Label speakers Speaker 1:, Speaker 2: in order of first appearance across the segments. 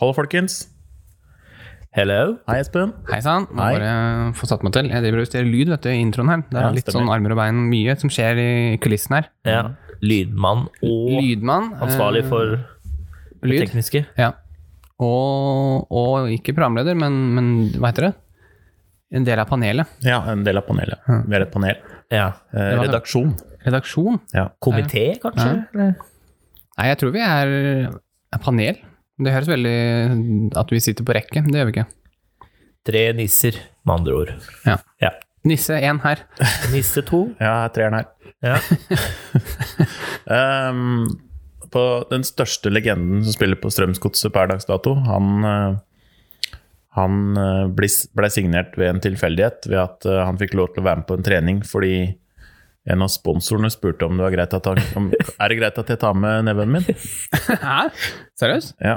Speaker 1: Hallo, folkens.
Speaker 2: Hello.
Speaker 1: Hei, Espen.
Speaker 3: Hei sann. Må
Speaker 1: Hei.
Speaker 3: bare få satt meg til. Jeg driver og justerer lyd vet du, i introen her. Det er
Speaker 1: Ja,
Speaker 3: litt
Speaker 1: stemmer.
Speaker 3: sånn armer og bein, mye som skjer i kulissen her.
Speaker 2: Ja. Lydmann og
Speaker 3: Lydmann. eh,
Speaker 2: ansvarlig for det
Speaker 3: lyd.
Speaker 2: tekniske.
Speaker 3: Ja. Og, og ikke programleder, men, men hva heter det? En del av panelet.
Speaker 1: Ja, en del av panelet. Vi er et panel.
Speaker 2: Ja.
Speaker 1: Eh,
Speaker 3: var det.
Speaker 1: redaksjon.
Speaker 3: Redaksjon.
Speaker 1: Ja.
Speaker 2: Komité, kanskje? Eller?
Speaker 3: Nei, jeg tror vi er er panel. Det høres veldig at vi sitter på rekke. Det gjør vi ikke.
Speaker 2: Tre nisser, med andre ord.
Speaker 3: Ja.
Speaker 2: Ja.
Speaker 3: Nisse én her.
Speaker 2: Nisse to.
Speaker 1: Ja, jeg er treeren her.
Speaker 2: Ja.
Speaker 1: Ehm, på den største legenden som spiller på Strømsgodset per dags dato, han, eh, han eh, ble, ble signert ved en tilfeldighet, ved at eh, han fikk lov til å være med på en trening fordi en av sponsorene spurte om det var greit at han, om, er det greit at jeg tar med neven min.
Speaker 3: Hæ? Seriøst?
Speaker 1: Ja.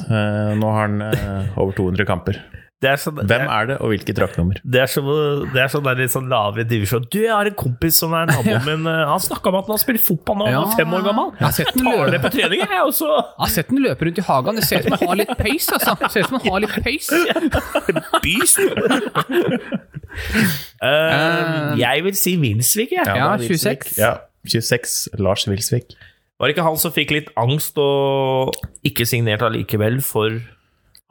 Speaker 1: Eh, nå har han eh, over 200 kamper.
Speaker 2: Det er sånn,
Speaker 1: Hvem er det, og hvilket draktnummer?
Speaker 2: Det er, som, det er sånn der litt sånn lavere divisjon. Du, jeg har en kompis som er naboen min. eh, Han snakka om at han har spilt fotball nå, han
Speaker 3: Ja.
Speaker 2: er fem år gammel.
Speaker 3: Jeg har sett den
Speaker 2: Tar det
Speaker 3: løpe.
Speaker 2: på trening, jeg også.
Speaker 3: Jeg har sett den løpe rundt i hagen. Det ser ut som han har litt pøys, altså. Det ser ut som han har litt pøys.
Speaker 2: Byst! Eh, jeg vil si Wilsvik, jeg.
Speaker 3: Ja,
Speaker 1: det er
Speaker 3: 26.
Speaker 1: Ja, 26. Lars Wilsvik.
Speaker 2: Var det ikke han som fikk litt angst og ikke signert allikevel for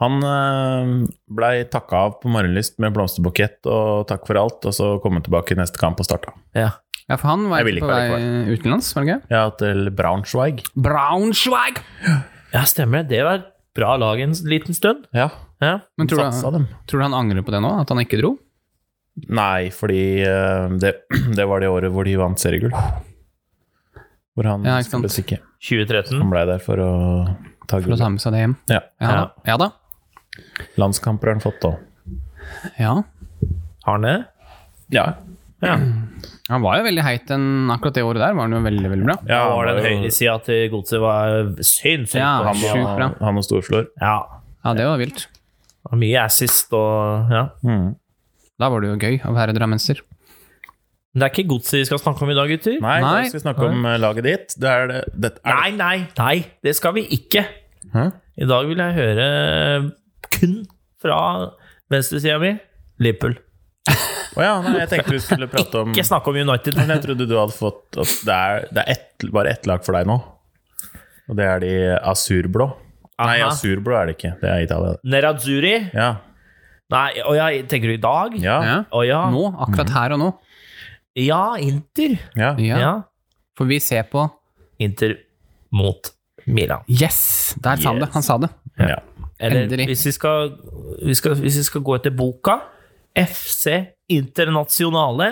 Speaker 1: Han eh, blei takka av på morgenlyst med blomsterbukett og takk for alt, og så kom han tilbake i neste kamp og starta.
Speaker 2: Ja.
Speaker 3: Ja, for han var
Speaker 1: Jeg vil
Speaker 3: på
Speaker 1: ikke være
Speaker 3: vei utenlands, var det ikke?
Speaker 1: Ja, til Braunschweig.
Speaker 3: Braunschweig!
Speaker 2: ja, stemmer det. Det var et bra lag en liten stund.
Speaker 1: Ja,
Speaker 2: Ja.
Speaker 3: Men tror
Speaker 1: satsa
Speaker 3: du,
Speaker 1: dem.
Speaker 3: tror du han angrer på det nå, at han ikke dro?
Speaker 1: Nei, fordi eh, det, det var det året hvor de vant seriegull. Hvor han
Speaker 3: Ja, ikke sant.
Speaker 1: skulle stikke.
Speaker 2: 2013.
Speaker 1: Han blei der for å ta
Speaker 3: For å
Speaker 1: gull.
Speaker 3: ta med seg det hjem.
Speaker 1: Ja.
Speaker 3: Ja,
Speaker 2: Ja.
Speaker 3: ja da.
Speaker 1: Landskamper har han fått da.
Speaker 3: Ja.
Speaker 2: Har han det?
Speaker 1: Ja.
Speaker 2: Ja.
Speaker 3: Han var jo veldig heit en, akkurat det året der, var han jo veldig, veldig bra.
Speaker 2: ja
Speaker 1: han
Speaker 2: var den
Speaker 1: var jo-
Speaker 2: høyresida til godset var sinnssykt
Speaker 3: Ja,
Speaker 2: bra.
Speaker 3: sjukt bra.
Speaker 1: Han og Storflor.
Speaker 2: Ja.
Speaker 3: Ja, det var vilt.
Speaker 2: Og mye assist og Ja.
Speaker 1: Mm.
Speaker 3: Da var det jo gøy å være drammenser.
Speaker 2: Men det er ikke godset vi skal snakke om i dag, gutter.
Speaker 1: Nei,
Speaker 3: Nei.
Speaker 1: da skal vi snakke om eh, laget ditt. Det er det, det, er
Speaker 2: nei, nei, nei, det skal vi ikke.
Speaker 1: det. Hæ?
Speaker 2: I dag vil jeg høre kun fra venstresida mi. Liverpool.
Speaker 1: Å ja, nei, jeg tenkte vi skulle prate om
Speaker 2: Ikke snakke om United.
Speaker 1: Men jeg trodde du hadde fått at det er, det er ett, bare ett lag for deg nå. Og det er de asurblå. Nei,
Speaker 2: Aha.
Speaker 1: asurblå er det ikke. Det er Italia. det.
Speaker 2: Nerazzurri.
Speaker 1: Ja.
Speaker 2: Nei, og jeg tenker du i dag?
Speaker 1: Ja.
Speaker 3: Ja.
Speaker 2: Å ja.
Speaker 3: Nå, akkurat her og nå.
Speaker 2: Ja, Inter.
Speaker 1: ja.
Speaker 2: Ja.
Speaker 3: Ja. For vi ser på
Speaker 2: Inter mot Milan.
Speaker 3: Yes! Der sa han det.
Speaker 2: Yes.
Speaker 3: Han sa det.
Speaker 1: ja.
Speaker 2: Eller
Speaker 3: Endelig.
Speaker 2: hvis vi, skal, vi skal, hvis vi skal gå etter boka FC Internasjonale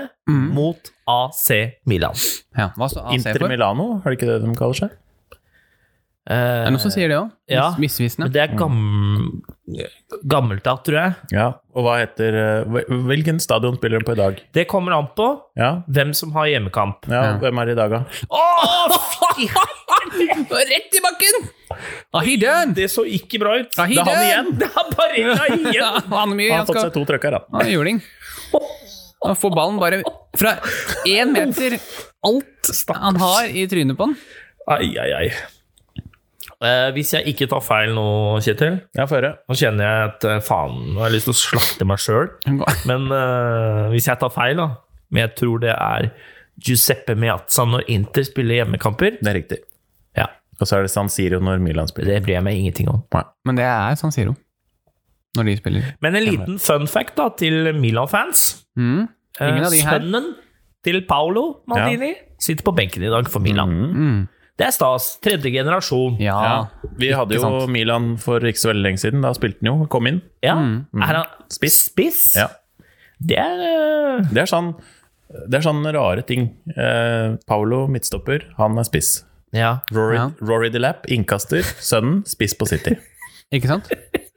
Speaker 2: mot AC Milan.
Speaker 3: Ja. Hva står AC
Speaker 1: Inter
Speaker 3: for?
Speaker 1: Milano, er det ikke det de kaller seg?
Speaker 3: Er det noen som sier det òg?
Speaker 2: Ja.
Speaker 3: Misvisende.
Speaker 2: Men Eh, det er gam... gammelt av, tror jeg.
Speaker 1: Ja. Og hva heter eh, hvil- Hvilken stadion spiller de på i dag?
Speaker 2: Det kommer an på
Speaker 1: Ja.
Speaker 2: hvem som har hjemmekamp.
Speaker 1: ja.
Speaker 3: Ja.
Speaker 1: Hvem er det i dag, da?
Speaker 2: Åh, fy!
Speaker 3: Rett i bakken! Ah, he done!
Speaker 2: Det så ikke bra ut.
Speaker 3: Ah, he
Speaker 1: Det er han
Speaker 3: done!
Speaker 1: igjen!
Speaker 2: Det er bare en
Speaker 3: Ja,
Speaker 2: igjen!
Speaker 3: han, er mye, han
Speaker 1: Han har fått
Speaker 3: skal
Speaker 1: seg to trøkker, han.
Speaker 3: Han er juling. Han får ballen bare fra én meter. Alt han har i trynet på han.
Speaker 2: Ai, ai, ai. Eh, hvis jeg ikke tar feil nå, Kjetil
Speaker 1: Ja, få høre.
Speaker 2: Nå kjenner jeg at eh, faen, nå har jeg lyst til å slakte meg sjøl.
Speaker 3: Han går-
Speaker 2: Men eh, hvis jeg tar feil, da Men jeg tror det er Giuseppe Meazza når Inter spiller hjemmekamper.
Speaker 1: Det er riktig.
Speaker 2: Ja,
Speaker 1: Og så er det San Siro når Milan spiller.
Speaker 2: Det bryr jeg meg ingenting om.
Speaker 1: Nei.
Speaker 3: Men det er San Siro når de spiller.
Speaker 2: Men en liten fun fact da til Milan-fans.
Speaker 3: Mm. Ingen
Speaker 2: Eh,
Speaker 3: av de her.
Speaker 2: Sønnen til Paolo Maldini sitter på benken i dag for Milan.
Speaker 3: Mm.
Speaker 2: Det er stas. Tredje generasjon. Ja.
Speaker 3: Ja.
Speaker 1: Ja. Vi hadde jo
Speaker 3: sant.
Speaker 1: Milan for ikke så veldig lenge siden. Da spilte han jo, kom inn.
Speaker 3: Mm,
Speaker 2: Er han spiss?
Speaker 1: Ja.
Speaker 2: Det er eh,
Speaker 1: Det er sånn det er sånne rare ting. Eh, Paulo, midtstopper, han er spiss.
Speaker 2: Ja.
Speaker 1: Rory,
Speaker 3: Ja.
Speaker 1: Rory DeLapp, innkaster. Sønnen, spiss på City.
Speaker 3: Ikke sant?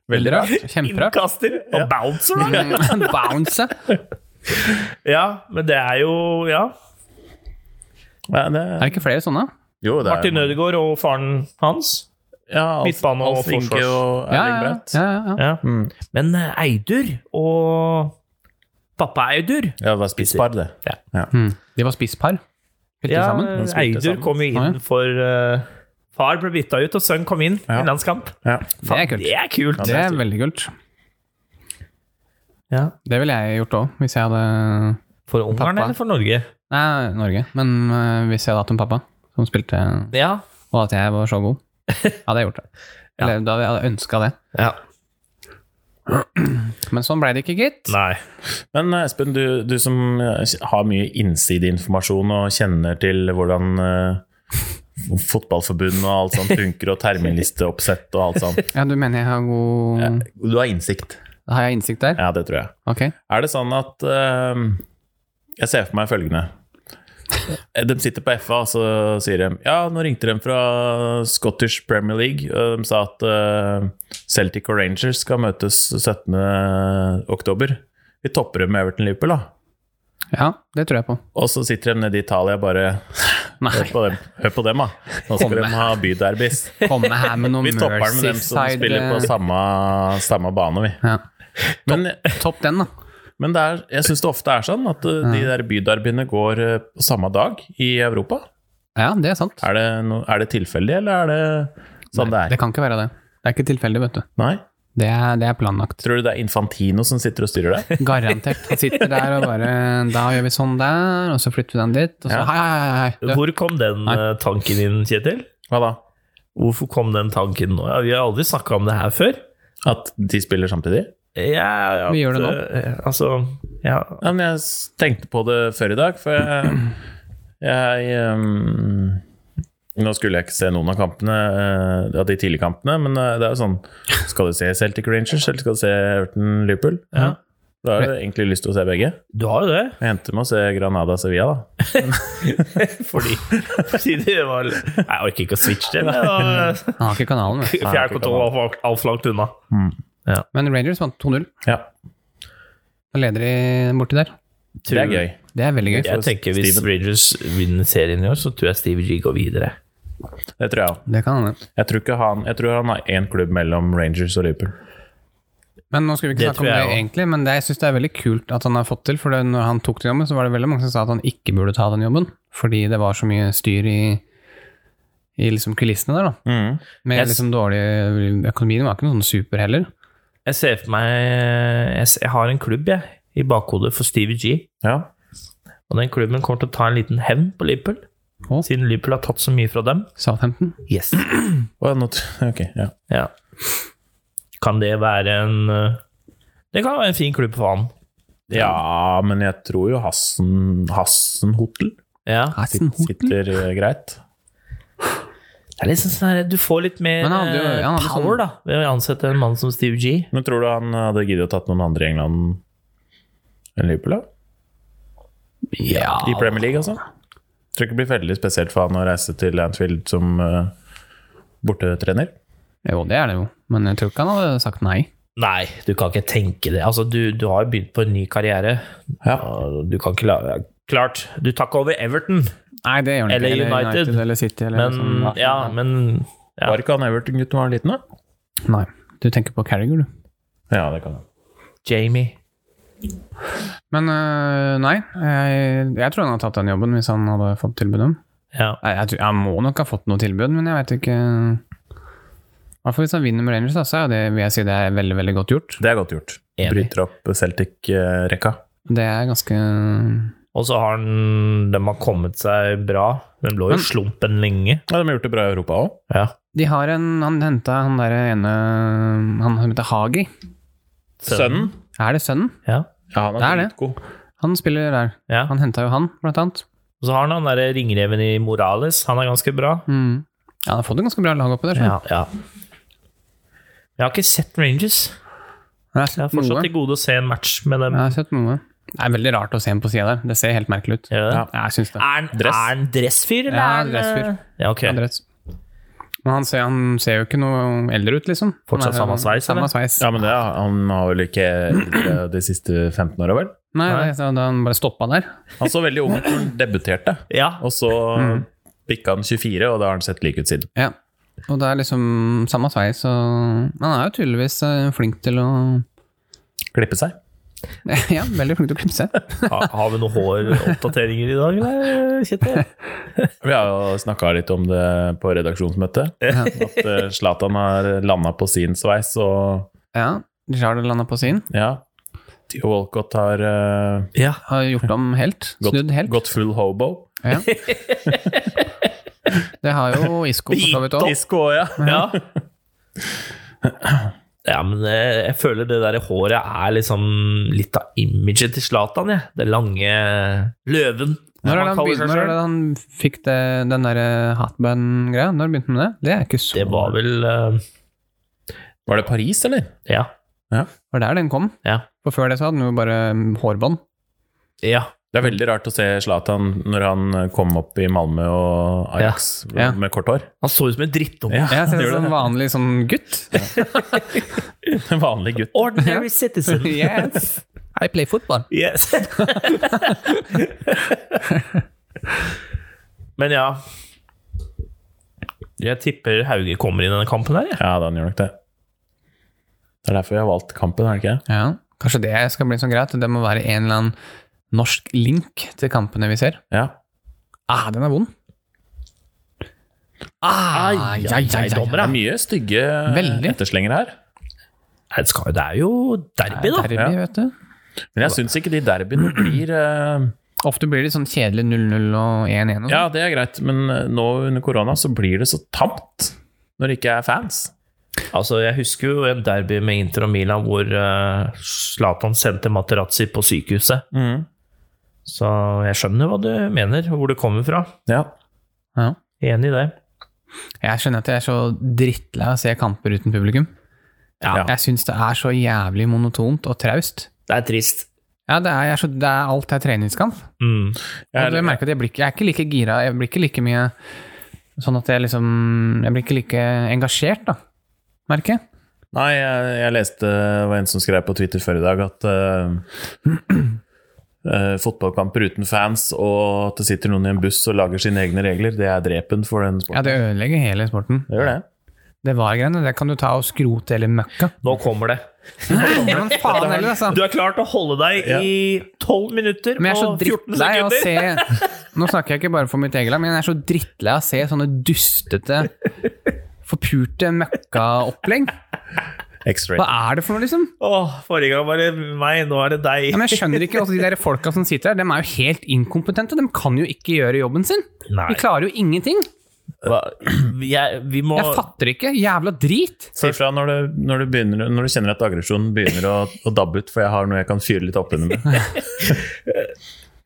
Speaker 3: Veldig rart. Kjemperart.
Speaker 2: Innkaster og bouncer, da.
Speaker 3: Mm, Bounce. Er
Speaker 2: Ja, men det er jo Ja.
Speaker 1: Nei, det,
Speaker 3: det ikke flere sånne?
Speaker 1: jo, det er,
Speaker 2: Martin
Speaker 3: eh,
Speaker 2: Ødegaard og faren hans.
Speaker 1: ja, Alf-
Speaker 2: midtbane og
Speaker 1: Alf Inge
Speaker 2: forsvars.
Speaker 1: og
Speaker 3: Ja, ja,
Speaker 1: Erling
Speaker 3: ja.
Speaker 1: Braut.
Speaker 3: ja, ja, ja.
Speaker 2: Ja. Men eh, Eidur og pappa Eidur
Speaker 1: Ja, det var spisspar, det.
Speaker 2: Ja.
Speaker 3: Mm. De var spisspar. Spilte
Speaker 2: ja,
Speaker 3: sammen.
Speaker 1: De spilte
Speaker 2: Eidur
Speaker 1: sammen.
Speaker 2: kom jo inn for, eh, Far ble bytta ut, og sønn kom inn i
Speaker 1: Ja.
Speaker 2: en landskamp.
Speaker 1: Ja.
Speaker 3: Det er kult.
Speaker 2: Det er kult!
Speaker 3: Det er veldig kult.
Speaker 2: Ja.
Speaker 3: Det ville jeg gjort òg, hvis jeg hadde
Speaker 2: For Ungarn
Speaker 3: Pappa.
Speaker 2: eller for Norge?
Speaker 3: Nei, Norge. Men øh, hvis jeg hadde hatt en pappa som spilte,
Speaker 2: Ja.
Speaker 3: og at jeg var så god, hadde jeg gjort det. Eller da hadde jeg ønska det.
Speaker 2: ja.
Speaker 3: Men sånn ble det ikke, gitt.
Speaker 2: Nei.
Speaker 1: Men eh, Espen, du, du som eh, har mye innsideinformasjon og kjenner til hvordan eh, fotballforbund og alt sånt funker, og terminlisteoppsett og alt sånt.
Speaker 3: Ja, du mener jeg har god
Speaker 1: Du har innsikt.
Speaker 3: Har jeg innsikt der?
Speaker 1: Ja, det tror jeg.
Speaker 3: Ok.
Speaker 1: Er det sånn at eh, Jeg ser for meg følgende. De sitter på FA, og så sier de Ja, nå ringte de fra Scottish Premier League. Og de sa at eh, Celtic og Rangers skal møtes 17. oktober. Vi topper dem med Everton Liverpool, da.
Speaker 3: Ja, det tror jeg på.
Speaker 1: Og så sitter de nede i Italia og bare Hør på dem, Hør på dem da. Nå skal de ha byderbys.
Speaker 3: Komme her med noe
Speaker 1: Vi topper den med dem som spiller på
Speaker 3: Merseyside
Speaker 1: samme, samme bane, vi.
Speaker 3: ja.
Speaker 1: Men,
Speaker 3: eh, Topp den, da.
Speaker 1: men det er, jeg syns det ofte er sånn at uh, de der byderbyene går uh, på samme dag i Europa.
Speaker 3: Ja, det er sant.
Speaker 1: Er det, no, er det tilfeldig, eller er det sånn det
Speaker 3: Det
Speaker 1: er?
Speaker 3: kan ikke være det. Det er ikke tilfeldig, vet du.
Speaker 1: Nei?
Speaker 3: Det er, det er planlagt.
Speaker 1: Tror du det er Infantino som sitter og styrer det?
Speaker 3: Garantert. Han sitter der og bare Da gjør vi sånn der, og så flytter vi den dit, og så
Speaker 1: Ja.
Speaker 3: hei, hei, hei, hei.
Speaker 2: Hvor kom den eh, tanken inn, Kjetil?
Speaker 1: Hva da?
Speaker 2: Hvorfor kom den tanken nå? Ja, vi har aldri snakka om det her før.
Speaker 1: At de spiller samtidig?
Speaker 2: Ja, at,
Speaker 3: Vi gjør det nå.
Speaker 2: eh, Altså, ja.
Speaker 1: Ja, men jeg s- tenkte på det før i dag, for jeg, jeg ehm, Nå skulle jeg ikke se noen av kampene, eh, av de tidlige kampene, men eh, det er jo sånn Skal du se Celtic Rangers, eller skal du se Everton Liverpool?
Speaker 2: Ja.
Speaker 1: Da har jeg egentlig lyst til å se begge.
Speaker 2: Du har jo det.
Speaker 1: Jeg endte med å se Granada Sevilla, da.
Speaker 2: Fordi, fordi det var Nei, Jeg orker ikke å switche det. men det var-
Speaker 3: Han har ikke kanalen, vet du.
Speaker 2: Fjernkontroll var alt- alt langt unna.
Speaker 3: Men Rangers vant 2-0.
Speaker 1: Ja,
Speaker 3: Da leder de borti der.
Speaker 1: Det er gøy.
Speaker 3: Det er veldig gøy.
Speaker 2: Jeg tenker Hvis
Speaker 1: Steven.
Speaker 2: Rangers vinner serien i år, så tror jeg Steve G går videre.
Speaker 1: Det tror jeg òg.
Speaker 3: Det kan hende.
Speaker 1: Jeg tror, ikke han, jeg tror han har én klubb mellom Rangers og Liverpool.
Speaker 3: Men nå skal vi ikke
Speaker 2: Det
Speaker 3: snakke om
Speaker 2: tror
Speaker 3: det
Speaker 2: jeg også.
Speaker 3: egentlig, men det, jeg syns det er veldig kult at han har fått til. For det, når han tok den jobben, så var det veldig mange som sa at han ikke burde ta den jobben. Fordi det var så mye styr i, i liksom kulissene der, da.
Speaker 1: Mhm.
Speaker 3: Med
Speaker 2: Jeg s-
Speaker 3: liksom dårlig Økonomien var ikke noe sånn super heller.
Speaker 2: Jeg ser for meg Jeg, s- jeg har en klubb jeg, i bakhodet for Steve G.
Speaker 1: Ja.
Speaker 2: Og den klubben kommer til å ta en liten hevn på Liverpool.
Speaker 3: Å.
Speaker 2: Siden Liverpool har tatt så mye fra dem.
Speaker 3: Southampton.
Speaker 2: Yes.
Speaker 1: Å, ja, nå tr- ok, ja.
Speaker 2: Ja. Kan det være en eh, Det kan være en fin klubb for han.
Speaker 1: ja, men jeg tror jo Hassen Hassenhotel
Speaker 2: Ja.
Speaker 3: Hassenhotel.
Speaker 1: sitter eh, greit.
Speaker 2: Det er liksom sånn her, Du får litt mer
Speaker 3: Men han hadde jo-
Speaker 2: eh,
Speaker 3: han hadde- sånn-
Speaker 2: power da ved å ansette en mann som Steve G.
Speaker 1: Men tror du han eh, hadde giddet å tatt noen andre i England enn Liverpool? da?
Speaker 2: Ja,
Speaker 3: Ah.
Speaker 1: I Premier League, altså? Tror ikke det blir veldig spesielt for han å reise til Anfield som eh, bortetrener.
Speaker 3: Jo, det er det jo. Men jeg tror ikke han hadde sagt nei.
Speaker 2: Nei, du kan ikke tenke det. Altså, du, du har jo begynt på en ny karriere.
Speaker 1: Ja.
Speaker 2: Og Du kan ikke la Klart, du tar ikke over Everton,
Speaker 3: Nei, det gjør han
Speaker 2: Eller
Speaker 3: ikke.
Speaker 2: United.
Speaker 3: eller City eller
Speaker 2: men
Speaker 3: noe sånt.
Speaker 2: Ja, men ja.
Speaker 1: Var ikke han Everton-gutten var liten, da?
Speaker 3: Nei. Du tenker på Carriager, du.
Speaker 1: Ja, det kan han.
Speaker 2: Jamie
Speaker 3: Men øh, nei, jeg, jeg tror han hadde tatt den jobben hvis han hadde fått tilbud om.
Speaker 2: ja.
Speaker 3: Nei, jeg, tror, jeg må nok ha fått noe tilbud, men jeg vet ikke I hvert fall hvis han vinner med Rangers, da, så er jo det, vil jeg si det er veldig veldig godt gjort.
Speaker 1: Det er godt gjort.
Speaker 2: Enig.
Speaker 1: Bryter opp eh, Celtic-rekka.
Speaker 3: Det er ganske
Speaker 2: Og så har han De har kommet seg bra. Den lå jo
Speaker 3: Men-
Speaker 2: i slumpen lenge.
Speaker 1: Ja, De har gjort det bra i Europa òg.
Speaker 2: Ja.
Speaker 3: De har en Han henta han derre ene Han som heter Hagi.
Speaker 1: Sønnen?
Speaker 3: Er det sønnen?
Speaker 2: Ja.
Speaker 1: Ja, han
Speaker 3: Det er det.
Speaker 1: dritgod.
Speaker 3: Han spiller der.
Speaker 2: ja.
Speaker 3: Han henta jo han, blant annet.
Speaker 2: Og så har han han derre ringreven i Morales. Han er ganske bra.
Speaker 3: Mm. Ja, han har fått et ganske bra lag oppi der. skjønner
Speaker 2: Ja, ja. Jeg har ikke sett Rangers.
Speaker 3: du. Jeg har
Speaker 2: Jeg har
Speaker 3: sett
Speaker 2: fortsatt
Speaker 3: noe.
Speaker 2: til gode å se en match med dem.
Speaker 3: Jeg har sett noe. Det er veldig rart å se ham på sida der. Det ser helt merkelig ut.
Speaker 2: Gjør det?
Speaker 1: Ja.
Speaker 3: Jeg syns
Speaker 2: Er
Speaker 3: det.
Speaker 2: han
Speaker 1: Dress.
Speaker 2: dress. dressfyr, eller?
Speaker 3: Ja,
Speaker 2: er han, eh,
Speaker 3: dressfyr.
Speaker 2: Ja, ok.
Speaker 3: Andres. Men han ser, han ser jo ikke noe eldre ut, liksom. Han
Speaker 2: Fortsatt
Speaker 3: er-
Speaker 2: samme sveis, eller?
Speaker 3: Samme sveis.
Speaker 1: Ja, men det, er- han har vel ikke eldre de siste 15 åra, vel?
Speaker 3: Nei,
Speaker 2: Nei.
Speaker 3: det- da han bare stoppa der.
Speaker 1: Han så veldig ung ut da han debuterte,
Speaker 2: Ja,
Speaker 1: og så
Speaker 3: Mm.
Speaker 1: bikka han 24, og da har han sett lik ut siden.
Speaker 3: Ja. Og det er liksom samme sveis, og Han er jo tydeligvis eh, flink til å
Speaker 1: Klippe seg.
Speaker 3: ja, veldig flink til å knipse.
Speaker 2: Ha, har vi noen håroppdateringer i dag, eller, Kjetil?
Speaker 1: Vi har jo snakka litt om det på redaksjonsmøtet. At eh, Zlatan har landa på sin sveis, og
Speaker 3: Ja, Jarl landa på sin.
Speaker 1: ja Theo Walcott har eh,
Speaker 2: Ja.
Speaker 3: Har gjort om helt.
Speaker 1: gått,
Speaker 3: Snudd helt.
Speaker 1: gått full hobo.
Speaker 3: Ja. Det har jo Isco for så vidt òg.
Speaker 1: Disko òg, ja.
Speaker 2: Ja. Ja, men eh, jeg føler det der håret er liksom litt av imaget til Zlatan, jeg. Det lange løven. som
Speaker 3: Når er det
Speaker 2: han
Speaker 3: han,
Speaker 2: kaller
Speaker 3: begynte,
Speaker 2: seg
Speaker 3: når er
Speaker 2: selv.
Speaker 3: det han fikk det, den derre hatband-greia? Når begynte han med det? Det er ikke så
Speaker 2: Det var vel eh,
Speaker 1: Var det Paris, eller?
Speaker 2: Ja.
Speaker 3: Det var der den kom.
Speaker 2: Ja.
Speaker 3: For før det så hadde han jo bare mm, hårbånd.
Speaker 2: ja.
Speaker 1: Det er veldig rart å se Zlatan når han eh, kom opp i Malmö og Ajax
Speaker 3: Ja. Ja.
Speaker 1: med kort hår.
Speaker 2: Han så ut som en drittunge.
Speaker 1: Ja,
Speaker 3: Jeg ser ut
Speaker 1: gjør
Speaker 3: som
Speaker 1: det.
Speaker 3: en vanlig sånn gutt.
Speaker 1: En vanlig gutt.
Speaker 2: Ordinary citizen.
Speaker 3: Yes. I play football.
Speaker 2: Yes. men ja Jeg tipper Hauge kommer i denne kampen her, jeg.
Speaker 1: Ja, da, han gjør nok det. Det er derfor vi har valgt kampen, er det ikke?
Speaker 3: Ja, kanskje det skal bli så greit. Det må være en eller annen norsk link til kampene vi ser.
Speaker 1: Ja.
Speaker 3: Ah, den er vond. Ah,
Speaker 2: Ai, ai, ai,
Speaker 1: Det er mye stygge
Speaker 3: Veldig.
Speaker 1: etterslenger her.
Speaker 2: Nei, Det, skal, det er jo derby, da.
Speaker 3: Derby,
Speaker 1: Ja.
Speaker 3: vet du.
Speaker 1: Men jeg syns ikke de derbyene blir eh,
Speaker 3: Ofte blir det sånn kjedelig 0-0 og 1-1. og sånn.
Speaker 1: Ja, det er greit, men eh, nå under korona så blir det så tamt når det ikke er fans.
Speaker 2: Altså, Jeg husker jo en derby med Inter og Milan hvor eh, Zlatan sendte Materazzi på sykehuset.
Speaker 3: Mm.
Speaker 2: Så jeg skjønner hva du mener, og hvor det kommer fra.
Speaker 1: Ja.
Speaker 3: Ja.
Speaker 2: Enig i det.
Speaker 3: Jeg skjønner at jeg er så drittlei av å se kamper uten publikum.
Speaker 2: Ja.
Speaker 3: Jeg syns det er så jævlig monotont og traust.
Speaker 2: Det er trist.
Speaker 3: Ja, det er, jeg er så, det er alt er treningskamp.
Speaker 2: Mm.
Speaker 3: Jeg, jeg merker at jeg blir, ikke- jeg er ikke like gira, jeg blir ikke like mye Sånn at jeg liksom Jeg blir ikke like engasjert, da, merker jeg.
Speaker 1: Nei, jeg, jeg leste det var en som skrev på Twitter før i dag at eh, eh, fotballkamper uten fans og at det sitter noen i en buss og lager sine egne regler, det er drepen for den
Speaker 3: Ja,
Speaker 1: sporten.
Speaker 3: det ødelegger hele sporten.
Speaker 1: det gjør det.
Speaker 3: Det var greiene, det kan du ta og skrote hele møkka.
Speaker 2: Nå kommer det.
Speaker 3: Men faen heller, altså.
Speaker 2: Du er klar til å holde deg
Speaker 1: Ja.
Speaker 2: i 12 minutter
Speaker 3: Men jeg er så
Speaker 2: og 14
Speaker 3: drittlei av å
Speaker 2: sekunder.
Speaker 3: se Nå snakker jeg ikke bare for mitt eget lag, men jeg er så drittlei av å se sånne dustete, forpurte møkkaopplegg. Hva
Speaker 1: X-ray.
Speaker 3: er det for noe, liksom?
Speaker 2: Åh, forrige gang var det meg, nå er det deg.
Speaker 3: Ja, men jeg skjønner ikke også de der folka som sitter her, de er jo helt inkompetente. De kan jo ikke gjøre jobben sin.
Speaker 2: Nei.
Speaker 3: De klarer jo ingenting.
Speaker 2: Hva- Jeg, vi må
Speaker 3: Jeg fatter ikke. Jævla drit.
Speaker 1: Si fra når du, når, du begynner, når du kjenner at aggresjonen begynner å, å dabbe ut, for jeg har noe jeg kan fyre litt opp under med.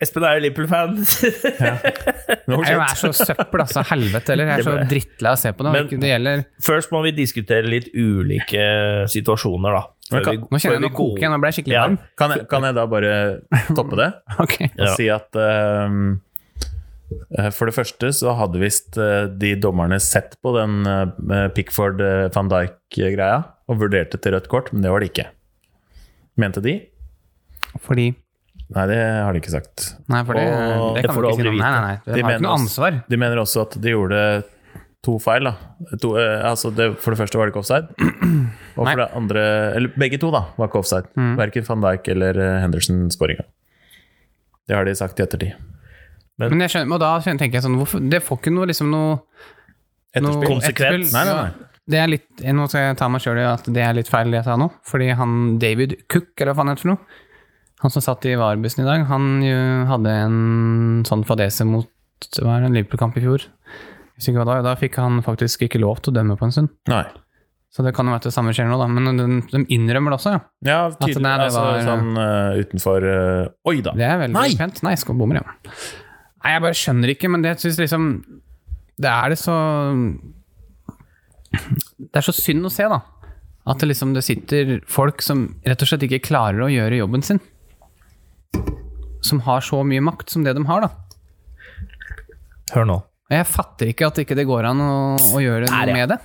Speaker 2: Espen er jo Liverpool-fan.
Speaker 1: No
Speaker 3: Jeg
Speaker 1: shit.
Speaker 3: er så søppel, altså. Helvete heller. Jeg er så drittlei av å se på det.
Speaker 2: Men-
Speaker 3: det gjelder
Speaker 2: Først må vi diskutere litt ulike situasjoner, da.
Speaker 1: Men kan-
Speaker 3: Nå kjenner jeg nå
Speaker 2: vi går-
Speaker 3: koker jeg, nå ble jeg skikkelig
Speaker 2: Ja.
Speaker 3: varm.
Speaker 1: Kan, jeg- kan jeg da bare toppe det?
Speaker 3: Ok.
Speaker 1: og
Speaker 2: Ja.
Speaker 1: si at ehm, eh, for det første så hadde visst eh, de dommerne sett på den eh, Pickford eh, van Dijk-greia og vurderte til rødt kort, men det var det ikke. Mente de?
Speaker 3: Fordi
Speaker 1: Nei, det har de ikke sagt.
Speaker 3: Nei, for det,
Speaker 1: Og-
Speaker 3: det
Speaker 2: det
Speaker 3: kan
Speaker 2: får
Speaker 3: vi
Speaker 2: du
Speaker 3: ikke si
Speaker 2: aldri
Speaker 3: noe om. Nei, nei, nei.
Speaker 1: De
Speaker 3: De har
Speaker 1: mener
Speaker 3: ikke noe
Speaker 1: også-
Speaker 3: ansvar.
Speaker 1: De mener også at de gjorde to feil. da to, eh, altså det, For det første var det ikke offside. Og
Speaker 3: Nei. Mm.
Speaker 1: for det andre Eller begge to, da, var ikke offside. Verken van Dijk eller eh, Henderson-skåringa. Det har de sagt i ettertid.
Speaker 3: Men jeg skjønner, og da skjønner, tenker jeg sånn hvorfor, Det får ikke noe liksom noe, noe
Speaker 1: Etterspill.
Speaker 2: konsekvens.
Speaker 3: etterspill.
Speaker 1: Nei, nei, nei.
Speaker 3: Det er litt, nå skal jeg ta meg sjøl i at det er litt feil, det jeg sa nå. Fordi han David Cook, eller hva faen heter det for noe, han som satt i varebussen i dag, han jo hadde en sånn fadese mot hva er det, en Liverpool-kamp i fjor. Jeg husker ikke hva det var, Da fikk han faktisk ikke lov til å dømme på en stund.
Speaker 1: nei.
Speaker 3: Så det kan jo være at det samme skjer nå, da. Men de, de innrømmer det også, ja.
Speaker 1: Ja, tydelig.
Speaker 3: nei, det
Speaker 1: altså,
Speaker 3: var-
Speaker 1: sånn eh, utenfor eh, Oi da!
Speaker 3: Det er veldig
Speaker 1: Nei!
Speaker 3: pent. Nei, skal bommer, ja. Nei, jeg bare skjønner ikke, men det syns liksom Det er det så Det er så synd å se, da. At det liksom det sitter folk som rett og slett ikke klarer å gjøre jobben sin. Som har så mye makt som det de har, da.
Speaker 2: Hør nå.
Speaker 3: Og jeg fatter ikke at ikke det går an å, å gjøre noe
Speaker 2: Der, ja.
Speaker 3: med det.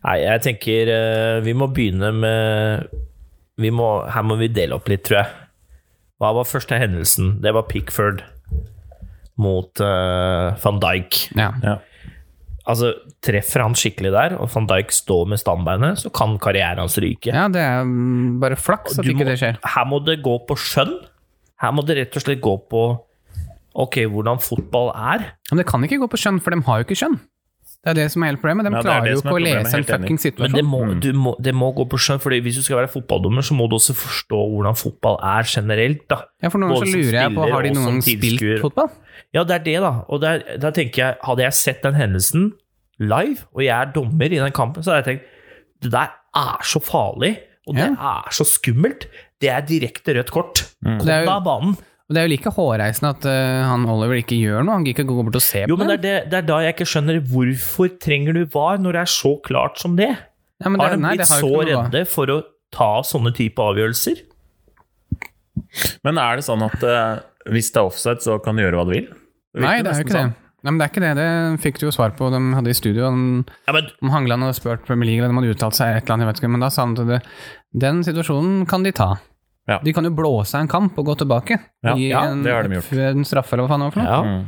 Speaker 2: Nei, jeg tenker eh, vi må begynne med vi må, Her må vi dele opp litt, tror jeg. Hva var første hendelsen? Det var Pickford mot eh, van Dijk.
Speaker 3: Ja.
Speaker 1: Ja.
Speaker 2: Altså, treffer han skikkelig der, og van Dijk står med standbeinet, så kan karrieren hans ryke.
Speaker 3: Ja, det er mm, bare flaks at
Speaker 2: Du
Speaker 3: ikke
Speaker 2: må-
Speaker 3: det skjer.
Speaker 2: Her må det gå på skjønn. Her må det rett og slett gå på ok, hvordan fotball er.
Speaker 3: Men det kan ikke gå på skjønn, for de har jo ikke skjønn. Det er det som er hele problemet. De
Speaker 1: Ja, det er
Speaker 3: klarer
Speaker 1: det
Speaker 3: jo
Speaker 1: som
Speaker 3: ikke
Speaker 1: er
Speaker 3: å
Speaker 1: problemet,
Speaker 3: lese en
Speaker 1: helt enig.
Speaker 3: fucking
Speaker 2: Men det
Speaker 3: situasjon.
Speaker 2: må, du må, det må gå på skjønn, fordi hvis du skal være fotballdommer, så må du også forstå hvordan fotball er generelt. da.
Speaker 3: Ja, for noen ganger
Speaker 2: både
Speaker 3: så
Speaker 2: som
Speaker 3: lurer jeg på
Speaker 2: spiller
Speaker 3: har de
Speaker 2: og
Speaker 3: noen
Speaker 2: som
Speaker 3: gang spilt
Speaker 2: tilskuer.
Speaker 3: fotball.
Speaker 2: Ja, det er det, da. Og der, der tenker jeg, hadde jeg sett den hendelsen live, og jeg er dommer i den kampen, så hadde jeg tenkt det der er så farlig, og det er så skummelt. Det er direkte rødt kort. Kom
Speaker 3: Det
Speaker 2: deg
Speaker 3: er jo-
Speaker 2: av banen.
Speaker 3: Og det er jo like hårreisende at eh, han Oliver ikke gjør noe. Han gikk ikke gå bort og se
Speaker 2: Jo,
Speaker 3: på
Speaker 2: men det er, det, det er da jeg ikke skjønner hvorfor trenger du var når det er så klart som det?
Speaker 3: Ja, men det-
Speaker 2: Har de
Speaker 3: nei,
Speaker 2: blitt
Speaker 3: det har jo
Speaker 2: så
Speaker 3: ikke noe-
Speaker 2: redde for å ta sånne type avgjørelser?
Speaker 1: Men er det sånn at eh, hvis det er offside, så kan du gjøre hva du vil?
Speaker 3: Nei, det er jo ikke
Speaker 2: sånn?
Speaker 1: sånn.
Speaker 3: det. Nei, men det er ikke det. Det fikk du jo svar på. De hadde i studio om,
Speaker 2: Ja, men
Speaker 3: om Hangeland hadde spurt Premier League, eller de hadde uttalt seg et eller annet, jeg vet ikke, men da sa han til det den situasjonen kan de ta.
Speaker 1: Ja.
Speaker 3: De kan jo blåse av en kamp og gå tilbake.
Speaker 1: Ja,
Speaker 3: Gi
Speaker 1: ja,
Speaker 3: en,
Speaker 1: det har de gjort.
Speaker 3: En straffe eller hva faen det var for noe.
Speaker 2: ja.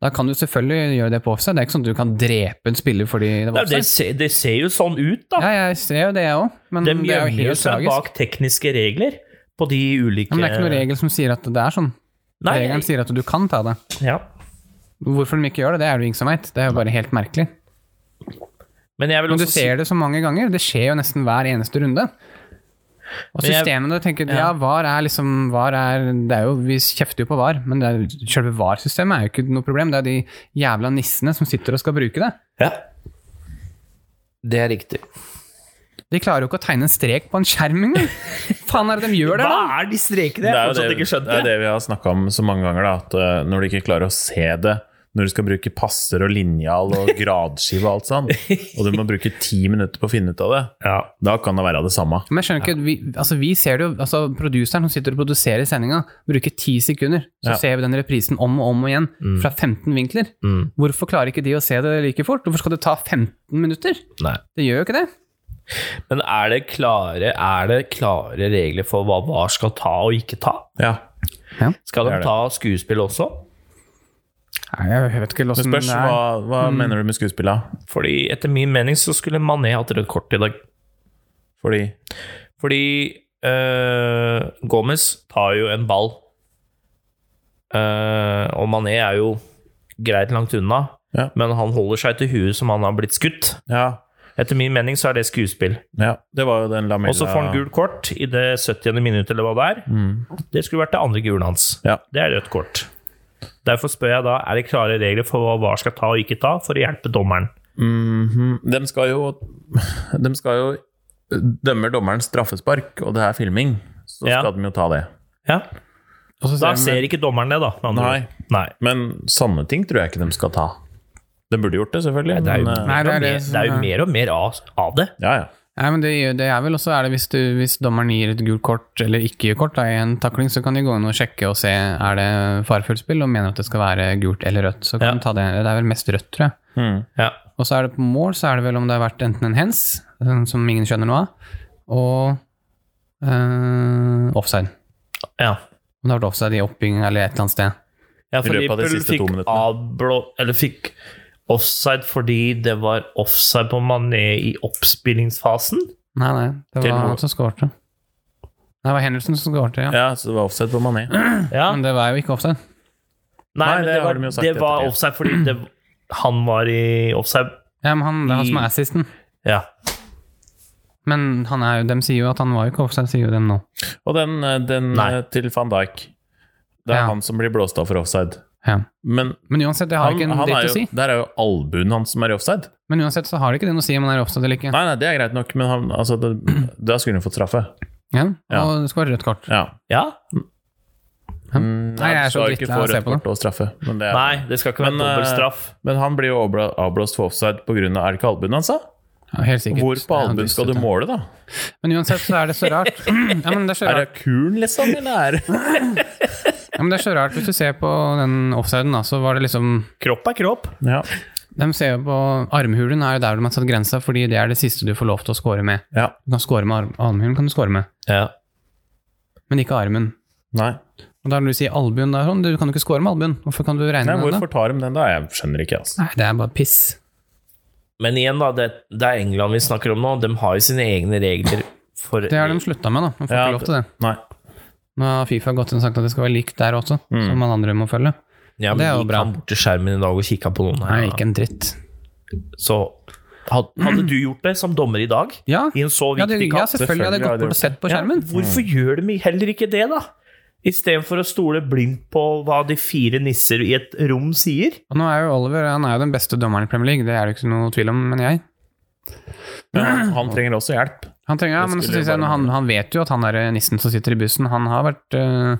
Speaker 3: Da kan du selvfølgelig gjøre det på offside. Det er ikke sånn at du kan drepe en spiller fordi
Speaker 2: Nei,
Speaker 3: det var
Speaker 2: det,
Speaker 3: offside.
Speaker 2: ser, det ser jo sånn ut, da.
Speaker 3: Ja, jeg ser jo det, jeg òg, men
Speaker 2: De
Speaker 3: det er jo
Speaker 2: gjemmer
Speaker 3: helt
Speaker 2: seg
Speaker 3: tragisk.
Speaker 2: bak tekniske regler på de ulike
Speaker 3: Ja, Men det er ikke noen regel som sier at det er sånn.
Speaker 2: Nei,
Speaker 3: Regelen sier at du kan ta det.
Speaker 2: ja.
Speaker 3: Hvorfor de ikke gjør det, det er det jo ingen som veit. Det er jo bare helt merkelig.
Speaker 2: Men jeg vil
Speaker 3: Men du
Speaker 2: også si
Speaker 3: ser det så mange ganger. Det skjer jo nesten hver eneste runde. Og
Speaker 2: Men jeg-
Speaker 3: systemene tenker ja, VAR er liksom VAR er, det er jo, Vi kjefter jo på VAR, men det er, selve VAR-systemet er jo ikke noe problem. Det er de jævla nissene som sitter og skal bruke det.
Speaker 2: ja. Det er riktig.
Speaker 3: De klarer jo ikke å tegne en strek på en skjerm engang! Faen er det de gjør der, da?
Speaker 2: Hva er de strekene?
Speaker 1: Det
Speaker 2: Jeg
Speaker 1: er
Speaker 2: har
Speaker 1: jo det,
Speaker 2: fortsatt ikke skjønt
Speaker 1: det, er
Speaker 2: det.
Speaker 1: det vi har snakka om så mange ganger, da, at eh, når du ikke klarer å se det når du skal bruke passer og linjal og gradskive og alt sånn, og du må bruke ti minutter på å finne ut av det,
Speaker 2: Ja.
Speaker 1: da kan det være det samme.
Speaker 3: Men jeg skjønner ikke, vi, altså vi ser det jo, altså Produseren som sitter og produserer sendinga, bruker ti sekunder. Så
Speaker 1: Ja.
Speaker 3: ser vi den reprisen om og om og igjen, fra 15 vinkler.
Speaker 2: Mm.
Speaker 3: Hvorfor klarer ikke de å se det like fort? Hvorfor skal det ta 15 minutter?
Speaker 2: Nei.
Speaker 3: Det gjør jo ikke det.
Speaker 2: Men er det, klare, er det klare regler for hva VAR skal ta og ikke ta?
Speaker 1: Ja.
Speaker 2: Skal
Speaker 1: Det
Speaker 2: de
Speaker 1: er det.
Speaker 2: ta skuespill også?
Speaker 3: Nei, jeg vet ikke
Speaker 1: Det
Speaker 3: hvordan det
Speaker 1: spørs hva,
Speaker 3: er.
Speaker 1: hva mener du med skuespilla?
Speaker 2: Fordi etter min mening så skulle Mané hatt rødt kort i dag.
Speaker 1: Fordi
Speaker 2: Fordi eh, Gomez tar jo en ball. Eh, og Mané er jo greit langt unna,
Speaker 1: Ja.
Speaker 2: men han holder seg til huet som han har blitt skutt.
Speaker 1: Ja.
Speaker 2: Etter min mening så er det skuespill.
Speaker 1: ja det var jo den lamella
Speaker 2: Og så får han gult kort i det 70. minuttet, eller hva det er.
Speaker 3: Mm.
Speaker 2: Det skulle vært det andre gule hans.
Speaker 1: Ja.
Speaker 2: Det er rødt kort. Derfor spør jeg da, er det klare regler for hva VAR skal ta og ikke ta, for å hjelpe dommeren?
Speaker 3: Mm.
Speaker 1: Mhm. De skal jo De skal jo Dømmer dommeren straffespark, og det er filming, så
Speaker 2: Ja.
Speaker 1: skal de jo ta det.
Speaker 2: Ja.
Speaker 3: Og så
Speaker 2: Da
Speaker 3: ser vi-
Speaker 2: ser ikke dommeren det, da. med andre
Speaker 1: Nei.
Speaker 2: ord. Nei.
Speaker 1: Men sånne ting tror jeg ikke de skal ta. De burde gjort det, selvfølgelig.
Speaker 2: Det er jo,
Speaker 1: men, eh,
Speaker 3: Nei, det er det
Speaker 2: mer,
Speaker 3: som
Speaker 2: det er
Speaker 3: er-
Speaker 2: jo mer og mer av, av det.
Speaker 1: ja, ja.
Speaker 3: Nei, men det, gjør- det er vel også er det hvis, du, hvis dommeren gir et gult kort eller ikke gir kort da, i en takling, så kan de gå inn og sjekke og se er det farefullt spill og mener at det skal være gult eller rødt. Så kan
Speaker 2: Ja.
Speaker 3: de ta det. Det er vel mest rødt, tror jeg.
Speaker 1: Mm.
Speaker 2: Ja.
Speaker 3: Og så er det på mål, så er det vel om det har vært enten en hens, eh, som ingen skjønner noe av, og eh, offside.
Speaker 2: Ja.
Speaker 3: Om det har vært offside i oppbygging eller et eller annet sted.
Speaker 2: ja, for
Speaker 1: I løpet av de
Speaker 2: Liverpool
Speaker 1: siste to
Speaker 2: fikk,
Speaker 1: minuttene.
Speaker 2: avblå, eller fikk offside fordi det var offside på Mané i oppspillingsfasen.
Speaker 3: Nei, nei, det
Speaker 1: Til
Speaker 3: var
Speaker 1: mål.
Speaker 3: han som skårte. Nei, det var Henderson som skårte, ja.
Speaker 1: Ja, så det var offset på Mané.
Speaker 2: Ja.
Speaker 3: Men det var jo ikke offside.
Speaker 2: Nei,
Speaker 1: Mm. Nei,
Speaker 2: men
Speaker 1: det
Speaker 2: det,
Speaker 1: har
Speaker 2: var,
Speaker 1: de jo sagt
Speaker 2: det var
Speaker 1: ettertid.
Speaker 2: offside fordi det, han var i offside.
Speaker 3: Ja, men han, det er han som er assisten.
Speaker 2: Ja.
Speaker 3: Men han er jo, dem sier jo at han var jo ikke offside, sier jo dem nå.
Speaker 1: Og den, eh, den
Speaker 2: Nei.
Speaker 1: eh, til van Dijk. Det er
Speaker 3: Ja.
Speaker 1: han som blir blåst av for offside.
Speaker 3: Ja.
Speaker 1: Men
Speaker 3: Men uansett, det har
Speaker 1: han,
Speaker 3: ikke en
Speaker 1: han er
Speaker 3: dritt
Speaker 1: jo,
Speaker 3: å si.
Speaker 1: der er jo albuen hans som er i offside.
Speaker 3: Men uansett så har det ikke det noe å si om han er offside eller ikke.
Speaker 1: Nei, nei, det er greit nok, men han, altså, det, da skulle han fått straffe.
Speaker 3: Ja,
Speaker 1: Ja.
Speaker 3: og det skal være rødt kort.
Speaker 1: Ja.
Speaker 2: ja.
Speaker 1: Mm,
Speaker 3: Nei, jeg er
Speaker 1: du
Speaker 3: så
Speaker 1: skal ikke
Speaker 3: drittlei
Speaker 1: få
Speaker 3: av å se
Speaker 1: rødt
Speaker 3: på det.
Speaker 1: kort og straffe. Men, det er,
Speaker 2: Nei, det skal ikke være
Speaker 1: Men, eh,
Speaker 2: dobbeltstraff.
Speaker 1: men han blir jo avbla- avblåst for offside pga. er det ikke albuen hans, da?
Speaker 3: Ja, helt sikkert.
Speaker 1: Hvor på
Speaker 3: Ja,
Speaker 1: albuen
Speaker 3: dystert,
Speaker 1: skal du
Speaker 3: ja.
Speaker 1: måle, da?
Speaker 3: Men ustraff, så er det så rart. Ja, men det er så
Speaker 1: Er
Speaker 3: rart.
Speaker 1: det kulen, liksom? Eller er
Speaker 3: Ja, men det er så rart hvis du ser på den offsiden, da, så var det liksom
Speaker 2: Kropp er kropp.
Speaker 1: ja.
Speaker 3: De ser jo på armhulen er jo der de har satt grensa, fordi det er det siste du får lov til å score med.
Speaker 1: ja.
Speaker 3: Du kan score med arm, armhulen, kan du score med,
Speaker 2: Ja.
Speaker 3: men ikke armen.
Speaker 1: Nei.
Speaker 3: Og da vil du si albuen, da er det sånn, du kan jo ikke score med albuen. Hvorfor kan du regne
Speaker 1: Nei,
Speaker 3: med den da?
Speaker 1: hvorfor tar de den, da? Jeg skjønner ikke, altså.
Speaker 3: Nei, det er bare piss.
Speaker 2: Men igjen, da, det, det er England vi snakker om nå. De har jo sine egne regler for
Speaker 3: Det har de slutta med, da. Man får
Speaker 1: Ja,
Speaker 3: ikke lov til det.
Speaker 1: Nei.
Speaker 3: Nå har Fifa gått inn og sagt at det skal være likt der også,
Speaker 2: Mm.
Speaker 3: som alle andre må følge.
Speaker 2: ja,
Speaker 3: det er jo
Speaker 2: vi
Speaker 3: bra.
Speaker 2: kan bort til skjermen i dag og kikka på noen her.
Speaker 3: Nei, ikke en dritt.
Speaker 2: Så had- hadde du gjort det som dommer i dag?
Speaker 3: Ja,
Speaker 2: I en så
Speaker 3: ja, det,
Speaker 2: viktig
Speaker 3: ja
Speaker 2: kamp?
Speaker 3: selvfølgelig hadde jeg
Speaker 1: Selvfølgelig
Speaker 3: gått bort og sett på skjermen.
Speaker 2: Ja, hvorfor gjør de heller ikke det, da? Istedenfor å stole blindt på hva de fire nisser i et rom sier.
Speaker 3: Og nå er jo Oliver han er jo den beste dommeren i Premier League, det er det ikke noe tvil om, men jeg.
Speaker 1: Men han, han trenger også hjelp.
Speaker 3: Han trenger, ja,
Speaker 1: Det
Speaker 3: men så
Speaker 1: skulle
Speaker 3: synes
Speaker 1: jo
Speaker 3: jeg,
Speaker 1: bare
Speaker 3: når han, han vet jo at han der nissen som sitter i bussen, han har vært, eh,